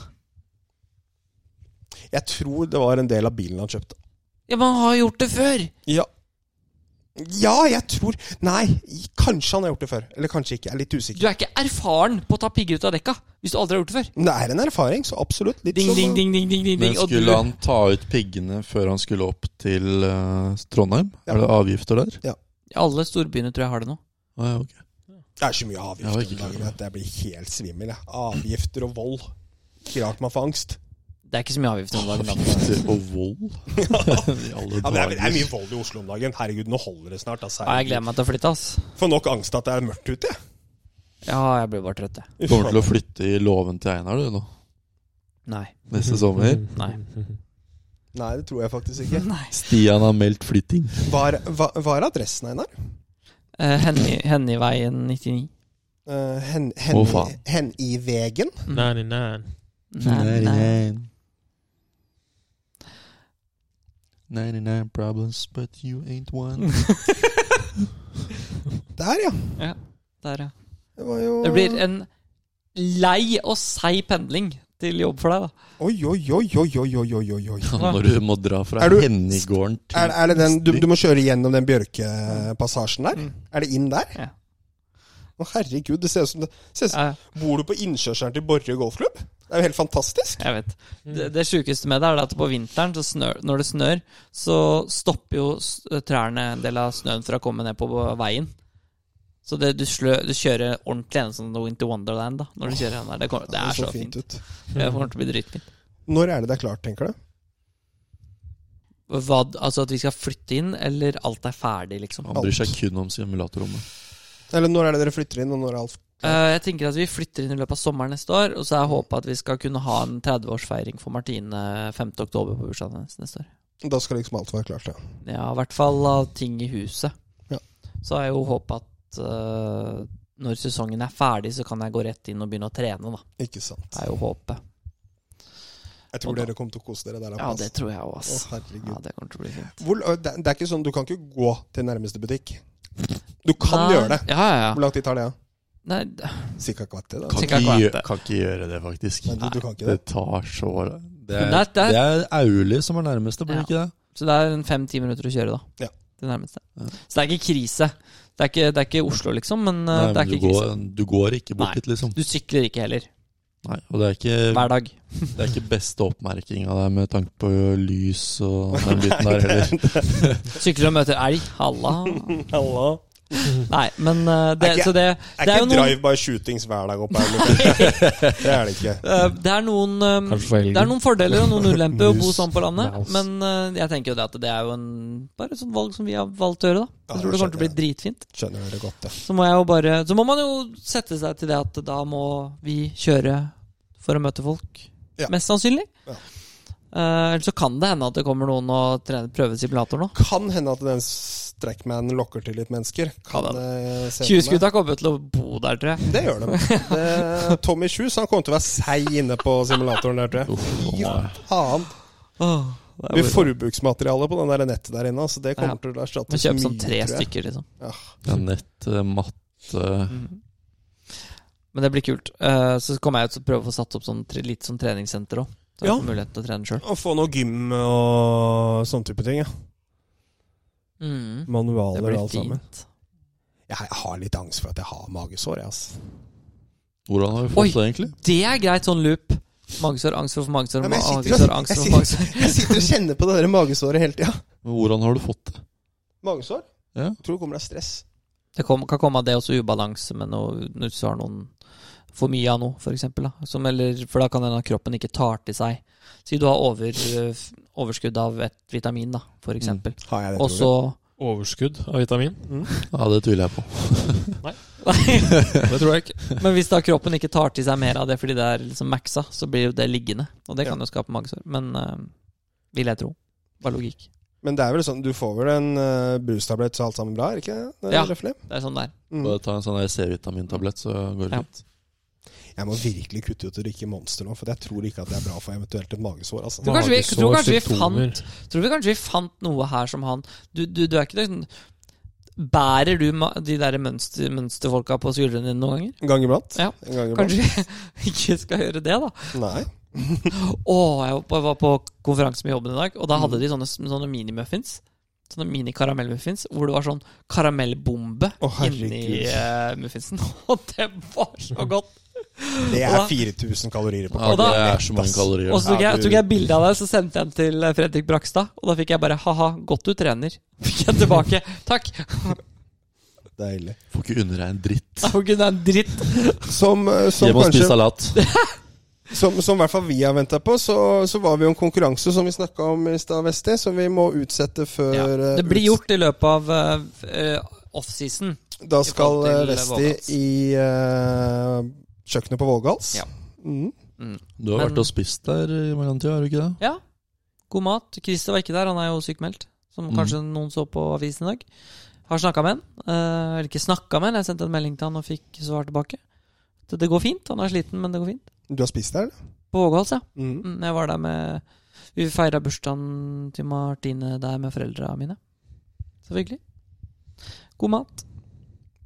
B: Jeg tror det var en del av bilen han kjøpte.
A: Ja, men han har gjort det før!
B: Ja. Ja, jeg tror Nei, kanskje han har gjort det før. Eller kanskje ikke. Jeg er litt usikker.
A: Du er ikke erfaren på å ta pigger ut av dekka hvis du aldri har gjort det før.
B: Men det er en erfaring, så absolutt. Litt
A: Ding,
B: som-
A: ding, ding, ding, ding, ding,
C: Men
A: ding. og du-
C: skulle han ta ut piggene før han skulle opp til eh, Trondheim?
B: Ja.
C: Er det avgifter der?
A: Alle storbyene tror jeg har det nå.
C: Ah, ja, ok.
B: Det er så mye
C: Jeg var
B: avgifter om
C: ikke
B: dagen
C: klar over
B: at jeg blir helt svimmel. Jeg. Avgifter og vold. Ikke rart man får angst.
A: Det er ikke så mye avgifter om dagen. da.
C: Avgifter og vold? I alle
B: Ja, men det, er, det er mye
C: dager.
B: vold i Oslo om dagen. Herregud, nå holder det snart. Altså.
A: Ja, jeg gleder meg til å flytte, ass.
B: Får nok angst at det er mørkt ute. jeg.
A: Ja, jeg blir bare trøtt, jeg.
B: Uff,
C: Kommer til å flytte i låven til Einar du nå
A: Nei.
C: neste sommer.
A: Nei.
B: Nei, det tror jeg faktisk ikke.
A: Nei.
C: Stian har meldt flytting.
B: Var, var, var adressen, Einar?
A: Eh, Henny- Hennyveien 99.
B: Uh, hen, hen,
C: Å, faen.
B: hen i vegen?
D: Nei, nei, nei.
A: Mm. Nei, nei.
C: 99 problems, but you ain't one.
B: Der, ja.
A: Der, ja.
B: Det var jo
A: Det blir en lei og seig pendling til jobb for deg, da.
B: Oi, oi, oi, oi, oi, oi, oi, oi, oi.
C: Når du må dra fra
B: Er du-
C: Hennigården til
B: Er, er det den du, du må kjøre gjennom den bjørkepassasjen der?
A: Mm.
B: Er det inn der?
A: Ja.
B: Å, herregud, det ser ut som det ser ut som,
A: Ja,
B: Bor du på innkjørselen til Borre golfklubb? Det er jo helt fantastisk.
A: jeg vet. Det, det sjukeste med det er at på vinteren, så snør, når det snør, så stopper jo s- trærne en del av snøen fra å komme ned på veien. Så det, du, slø, du kjører ordentlig en sånn Winter Wonderland da når du kjører den der. Det, kommer, det er så fint.
B: ut.
A: Det kommer til å bli dritfint.
B: Når er det det er klart, tenker du?
A: Hva, altså at vi skal flytte inn, eller alt er ferdig, liksom?
C: Han bryr seg kun om simulatorrommet.
B: Eller når er det dere flytter inn, og når er alt
A: Eh, jeg tenker at vi flytter inn i løpet av sommeren neste år, og så jeg håper at vi skal kunne ha en 30-årsfeiring for Martine 5. oktober på bursdagen hennes neste år.
B: Da skal liksom alt være klart, ja.
A: Ja, i hvert fall av ting i huset.
B: Ja.
A: Så har jeg jo håpet at eh, når sesongen er ferdig, så kan jeg gå rett inn og begynne å trene, da.
B: Ikke sant.
A: Det er jo håpet.
B: Jeg tror
A: Og da-
B: dere kommer til å kose dere der.
A: Ja,
B: oppe,
A: det
B: ass.
A: tror jeg òg,
B: Å,
A: ass. Ja,
B: herregud.
A: det kommer til å bli fint.
B: Hvor, ø, det, det er ikke sånn, du kan ikke gå til nærmeste butikk. Du kan
A: Nei,
B: gjøre det.
A: Ja, ja,
B: Hvor
A: ja.
B: lang tid tar det? Ja?
A: Nei,
B: Cirka et kvarter? da.
C: Kan
A: Sikkert
C: ikke,
A: akkurat
C: gjø-
A: det.
C: kan ikke gjøre det, faktisk.
B: Nei, du, du kan ikke det.
C: Det tar så Det
A: Men det
C: er,
A: er- det er-
C: det er Auli som er nærmeste, blir det ikke det?
A: så det er en fem-ti minutter å kjøre, da.
B: Ja.
A: Det nærmeste.
C: Ja.
A: Så det er ikke krise. Det er ikke, det er ikke Oslo, liksom, men, eh,
C: Nei,
A: det
C: men
A: er
C: du
A: ikke krise.
C: går, du går ikke
A: Nei.
C: bort dit, liksom.
A: Du sykler ikke heller.
C: Nei, og det er ikke,
A: Hver dag.
C: det er ikke beste oppmerkinga der med tanke på lys og den biten der heller.
A: Sykler og møter elg. Halla.
B: Halla.
A: Nei, men eh, det,
B: Er ikke-
A: så det,
B: Er
A: det er
B: ikke
A: jo noen
B: drive-by-shootings hver dag oppe her? liksom. det er det ikke.
A: eh, det er noen, eh,
D: Kanskje for helgen.
A: det er noen fordeler og noen ulemper å bo
D: Mus.
A: sånn på landet,
D: Mouse.
A: men eh, jeg tenker jo det at det er jo en, bare et sånt valg som vi har valgt å gjøre, da.
B: Ja,
A: Jeg tror det kommer til å bli
B: skjønner
A: dritfint.
B: Skjønner dere godt, det.
A: Så må jeg jo bare Så må man jo sette seg til det at da må vi kjøre for å møte folk.
B: Ja.
A: Mest sannsynlig.
B: Ja.
A: Eh, Ellers så kan det hende at det kommer noen og trener, prøver simulator nå.
B: Kan hende at den strekkmanen lokker til litt mennesker. Kan eh, se for meg.
A: 20-skutta kommer til å bo der, tror jeg.
B: Det gjør de. Det, Tommy Shoes han kommer til å være seig inne på simulatoren der, tror
C: Uff, å
B: jeg.
C: nei.
B: Ja, faen.
A: Åh, det
B: Det
A: er
B: blir
A: bare-
B: forbruksmateriale på den der nettet der inne. Altså det kommer
A: Ja.
B: til å erstatte
A: Må
B: så
A: kjøpe sånn tre
B: tror jeg.
A: stykker, liksom.
C: Ja, nett, eh, matte
A: Mm. Men det blir kult. Eh, så kommer jeg ut og prøver å få satt opp sånn, tre- litt sånn treningssenter òg. Så jeg
B: Ja.
A: får mulighet til å trene sjøl.
B: Og få noe gym og sånn type ting. Ja. Mhm.
A: Mm. Det
B: Manualer og
A: blir
B: alt sammen.
A: fint.
B: Jeg har litt angst for at jeg har magesår. Jeg, altså.
C: Hvordan har vi
A: Oi.
C: fått det, egentlig?
A: Det er greit sånn loop. Magesår, angst for magesår,
B: Nei, men jeg sitter
A: magesår,
B: og-
A: angst
B: jeg
A: for magesår.
B: jeg sitter og kjenner på det der magesåret hele tida.
C: Men Hvordan har du fått det?
B: Magesår?
C: Ja.
B: Tror det kommer av stress.
A: Det kom, kan komme av det også ubalanse med noe, hvis du har noen for mye av noe, for eksempel. Da. Som, eller, for da kan det hende at kroppen ikke tar til seg. Si du har over, eh, f- overskudd av et vitamin, da, for eksempel.
B: Har Mm. jeg det,
A: Og så
D: Overskudd av vitamin?
B: Mm.
C: Ja, det tviler jeg på.
D: Det tror jeg ikke.
A: Men hvis da kroppen ikke tar til seg mer av det fordi det er liksom maxa, så blir jo det liggende. Og det kan
B: Ja.
A: jo skape magesår. Men eh, vil jeg tro. Bare logikk.
B: Men det er vel sånn, du får vel en eh, brustablett så er alt sammen bra, er ikke det? det? er
A: Ja.
B: røffelig?
A: Det er sånn det er.
B: Mm.
C: Bare ta en sånn der C-vitamintablett, så går det
A: Ja.
C: fint.
B: Jeg må virkelig kutte ut å drikke Monster nå, for jeg tror ikke at det er bra for eventuelt et magesår. Altså.
A: Tror kanskje vi- tror kanskje vi
D: Magesårsymptomer.
A: Tror vi kanskje vi fant noe her som han Du, du, du er ikke det sånn Bærer du ma- de der mønster, mønsterfolka på skuldrene dine noen ganger?
B: En gang iblant?
A: Ja.
B: En gang iblant.
A: Kanskje vi ikke skal gjøre det, da.
B: Nei.
A: Å, jeg var på- var på konferanse med jobben i dag, og da hadde de sånne, sånne mini-muffins. Sånne mini-karamellmuffins hvor det var sånn karamellbombe
B: Å, herregud.
A: inni eh, muffinsen. Og det var så godt!
B: Det er
A: Og da-
B: 4000 kalorier på
C: Ja,
A: Og da-
C: det er så mange kalorier.
A: Og så tok
B: Ja,
A: jeg,
B: du-
A: tok jeg bilde av deg, så sendte jeg den til eh, Fredrik Brakstad. Og da fikk jeg bare 'ha-ha, godt du trener'. Fikk jeg tilbake. Takk!
B: Deilig.
C: Får ikke unne deg en dritt.
A: Jeg får ikke unna en dritt.
B: Som, eh, som
C: Hjem og spis
B: kanskje
C: salat.
B: Som, som i hvert fall vi har venta på, så, så var vi jo en konkurranse som vi snakka om i stad, Vesti, som vi må utsette før
A: Ja.
B: eh,
A: Det blir
B: uts-
A: gjort i løpet av eh, offseason.
B: Da skal
A: forhold til
B: eh, Vesti
A: Vågals.
B: i eh, kjøkkenet på Vågals.
A: Ja.
B: Mm.
C: Du har
A: Men-
C: vært og spist der i mellomtida, har du ikke det?
A: Ja. God mat. Christer var ikke der, han er jo sykmeldt. Som
C: Mm.
A: kanskje noen så på avisen i dag. Har snakka med han. Eh, eller ikke snakka med han, jeg sendte en melding til han og fikk svar tilbake. Det, det går fint. Han er sliten, men det går fint.
B: Du har spist der, eller?
A: På Vågals, ja.
B: Mm.
A: Mm, Jeg var der med Vi feira bursdagen til Martine der med foreldra mine. Så hyggelig. God mat.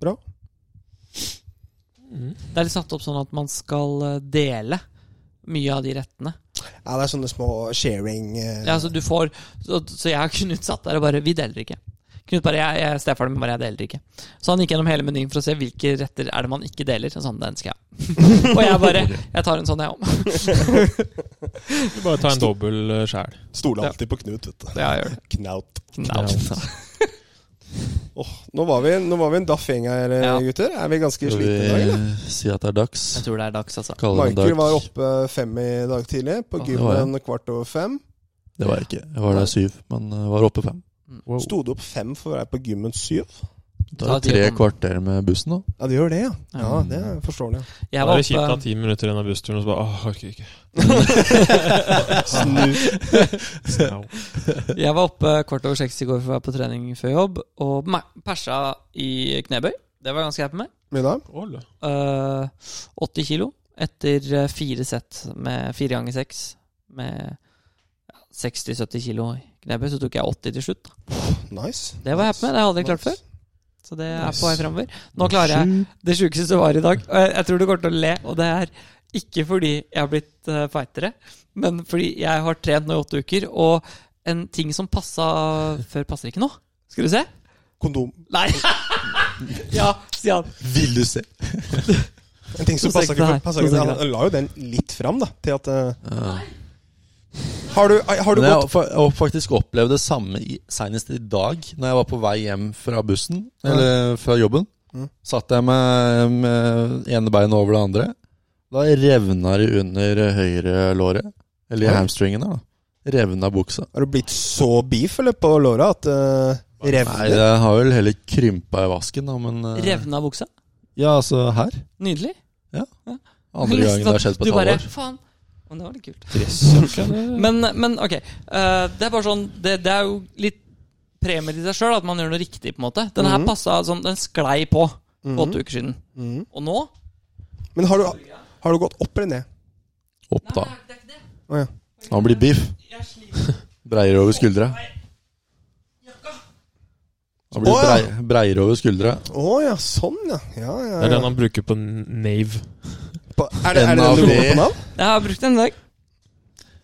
B: Bra.
D: Mm.
A: Det er litt satt opp sånn at man skal eh, dele mye av de rettene.
B: Ja, det er sånne små sharing eh,
A: Ja, så du får Så, så jeg og Knut satt der og bare Vi deler ikke. Knut bare Jeg, jeg stefaren min bare Jeg deler ikke. Så han gikk gjennom hele menyen for å se hvilke retter er det man ikke deler. Og sånn, den skal jeg ha. og jeg bare Jeg tar en sånn, jeg òg.
D: Du Bare ta en dobbel eh, skjær.
B: Stoler alltid på Knut, vet du.
A: Ja, jeg gjør det.
B: Knaut.
A: Knaut.
B: Nå var vi, nå var vi en daff gjeng her, eh,
A: Ja.
B: gutter. Er vi ganske
C: Skal
B: slitne i dag, eller?
C: vi si at det er dags?
A: Jeg tror det er dags, altså.
C: Kaller det en
B: Michael var
C: dag. Ah,
B: oppe fem i dag tidlig, på
A: Å,
C: det var jeg.
B: gymmen kvart over fem.
C: Det var jeg ikke. Jeg var der syv, men eh, var oppe fem.
A: Mm.
D: Wow.
B: Sto du opp fem for å være på gymmen syv?
C: Det
A: Ta tid å
C: er tre
A: komme.
C: kvarter med bussen, da.
B: Ja, du gjør det, ja. Ja,
A: Ja.
B: det er forståelig.
A: Jeg
D: Da
A: var
D: er det kjipt å ha
A: oppe
D: ti minutter igjen av bussturen, og så bare åh, orker ikke.
B: Snu.
D: Au.
A: Jeg var oppe kvart over seks i går for å være på trening før jobb, og me- persa i knebøy. Det var jeg ganske happy med.
B: Mina?
D: Åle.
A: Eh, 80 kilo etter eh, fire sett med fire ganger seks. Med ja, 60-70 kilo i knebøy, så tok jeg 80 til slutt. da.
B: Nice.
A: Det var jeg happy med. Det hadde jeg klart før. Så det er på vei framover. Nå klarer jeg det sjukeste som var i dag. Og jeg, jeg tror du kommer til å le, og det er ikke fordi jeg har blitt eh, feitere, men fordi jeg har trent nå i åtte uker, og en ting som passa før, passer ikke nå. Skal du se?
B: Kondom.
A: Nei! ja, Stian.
C: Vil du se?
B: En ting som
A: To sekunder
B: passer ikke
A: her,
B: for passer
A: to
B: ikke.
A: sekunder.
B: Han la jo den litt fram, da. Til at eh,
C: Ja.
B: Har du, eh, har du
C: Men jeg
B: gått
C: har fa- jeg har faktisk opplevd det samme i, senest i dag, når jeg var på vei hjem fra bussen, eller fra jobben.
B: Mm.
C: Satt jeg med, med ene beinet over det andre. Da revna det under høyre låret. Eller
B: Oi.
C: hamstringen, da. Revna buksa.
B: Har du blitt så beef, eller, på låra at uh,
C: Nei,
B: revner?
C: det har vel heller krympa i vasken, da, men eh,
A: Revna buksa.
C: Ja, altså her.
A: Nydelig.
C: Andre gangen det har skjedd på
A: Liksom, Du
C: et
A: bare,
C: halvår.
A: faen. Men det var litt kult.
D: Men
A: Men, men ok. eh, det er bare sånn Det, det er jo litt premie til seg sjøl at man gjør noe riktig, på en måte. Den her
B: Mhm.
A: passa sånn Den sklei på
B: Mhm.
A: for åtte uker siden.
B: Mhm.
A: Og nå
B: Men har du, har du gått opp eller ned?
C: Opp, da.
A: det er ikke det.
B: Å ja.
C: Han blir biff.
A: Jeg sliter.
C: Breier over skuldra. Han blir
B: Å, ja.
C: brei, breier over skuldra.
B: Å, ja, sånn, ja. ja, ja,
D: Det er den
B: ja.
D: han bruker på Nave.
B: På, er, det, er det den du
C: NAV?
B: går på navn?
A: Jeg har brukt den i dag.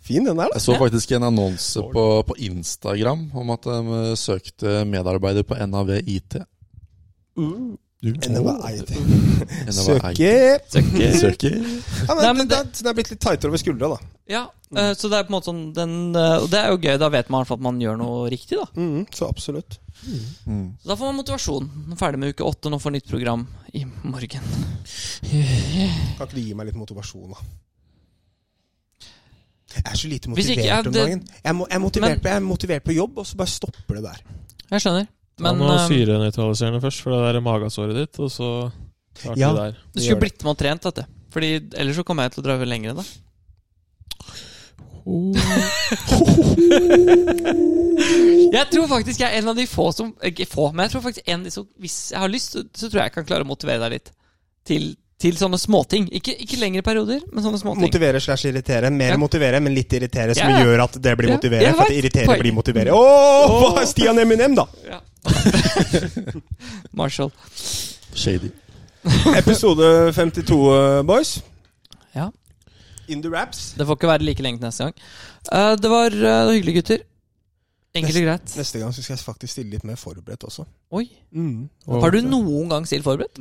B: Fin, den der, da.
C: Jeg så faktisk en annonse på, på Instagram om at de eh, søkte medarbeider på NAV IT. Du,
B: NAV-IT.
C: NAV IT.
B: Søker
A: Søker.
C: Søker.
B: ja, men,
A: Nei, men
B: den- Den er blitt litt tightere over skuldra, da.
A: Ja,
C: Mhm.
A: eh, så det er på en måte sånn den, eh, Og det er jo gøy. Da vet man i hvert fall at man gjør noe riktig, da.
B: Mhm, så absolutt.
C: Mm.
A: Så da får man motivasjon. Ferdig med uke åtte, nå får nytt program i morgen.
B: Kan ikke du gi meg litt motivasjon, da? Jeg er så lite
A: Hvis
B: motivert
A: ikke- ja,
B: om
A: det-
B: dagen. Jeg, må, jeg, er motivert, på- jeg er motivert på jobb, og så bare stopper det der.
A: Jeg skjønner.
D: Ta
A: Men
D: noe
A: eh,
D: syrenøytraliserende først, for det der magasåret ditt, og så starter
B: Ja.
D: vi der.
A: du
B: Gjør
A: skulle
B: det.
A: blitt med og trent, vet du. Fordi ellers så kommer jeg til å dra lenger enn deg. Jeg tror faktisk jeg er en av de få som Ikke få, men jeg tror faktisk en av de som Hvis jeg har lyst, så, så tror jeg jeg kan klare å motivere deg litt. Til, til sånne småting. Ikke, ikke lengre perioder, men sånne småting.
B: Motivere slash irritere. Mer
A: Ja.
B: motivere, men litt irritere, som
A: Ja, ja.
B: gjør at det blir
A: Ja,
B: motivere.
A: jeg
B: For at
A: vet.
B: irritere
A: Poeng.
B: blir motivere. Åh,
A: Åh.
B: hva er Stian Eminem, da?
A: ja. Marshall.
C: Shady.
B: Episode 52, eh, boys.
A: Ja.
B: In the wraps.
A: Det får ikke være like lenge til neste gang. Eh, det var eh, hyggelig, gutter. Enkelt og greit.
B: Neste gang så skal jeg faktisk stille litt mer forberedt også.
A: Oi.
B: Mm.
A: Har du noen gang stilt forberedt?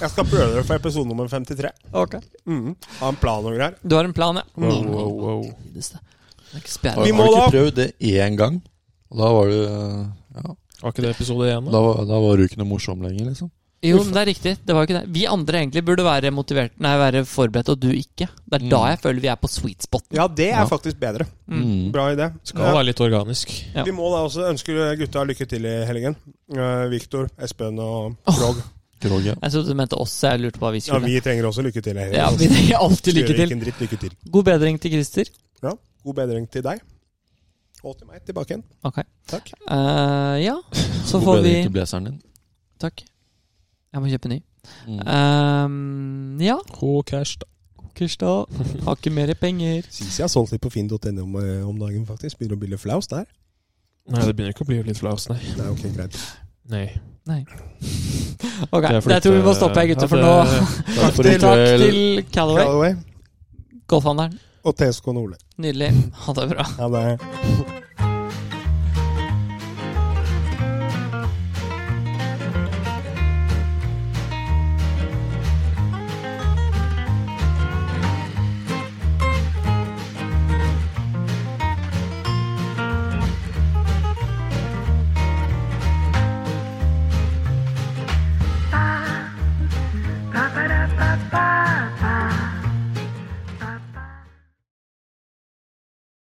B: Jeg skal prøve det for episode nummer 53.
A: Ok
B: Mm. Ha en plan og greier.
A: Du har en plan, ja?
D: Wow, wow, wow.
A: Helvete. Det er ikke
C: Har,
A: spjæra.
B: Vi
C: har
B: må
C: du ikke
B: da-
C: prøvd det én gang? Da var du ja,
D: Var ikke det episode én, da?
C: da, var- da var du ikke noe morsom lenger, liksom.
A: Jo, men det er riktig. Det var jo ikke det. Vi andre egentlig burde være motivert Nei, være forberedt, og du ikke. Det er da jeg føler vi er på sweet spot.
B: Mm. Ja, det er
C: Ja.
B: faktisk bedre.
C: Mm.
B: Bra idé.
D: Skal være litt organisk.
A: Ja.
B: Vi må da også ønske gutta lykke til i helgen. Uh, Viktor, Espen og Krog.
C: Krog, ja.
A: Jeg trodde du mente oss, så jeg lurte på hva vi
B: Ja,
A: skulle.
B: vi trenger også lykke til i helgen.
A: Ja, vi trenger alltid lykke
B: Gjør
A: til.
B: ikke en dritt lykke til.
A: God bedring til Christer.
B: Ja, God bedring til deg. Og til meg tilbake igjen.
A: Ok.
B: Takk.
A: Eh, ja, så
C: God
A: får vi
C: bedring til blazeren din.
A: Takk. Jeg må kjøpe ny.
C: Mm.
A: Eh, ja,
D: Ho cash, da.
A: Kirsta har ikke mer penger.
B: Sisi har solgt litt på finn.no E om, eh, om dagen, faktisk. Begynner å bli litt flaus der.
D: Nei, det begynner ikke å bli litt flaus, nei.
B: Nei, ok, greit.
D: nei.
A: Ok,
D: Det er fordi
A: jeg tror vi må
D: at,
A: stoppe her, gutter,
D: ja,
A: for
D: det-
A: nå.
C: Takk for i
A: Takk
C: kveld.
A: til Callaway,
B: Callaway
A: golfhandelen.
B: og TSK Nordli.
A: Nydelig. Ha det bra.
B: Ha det.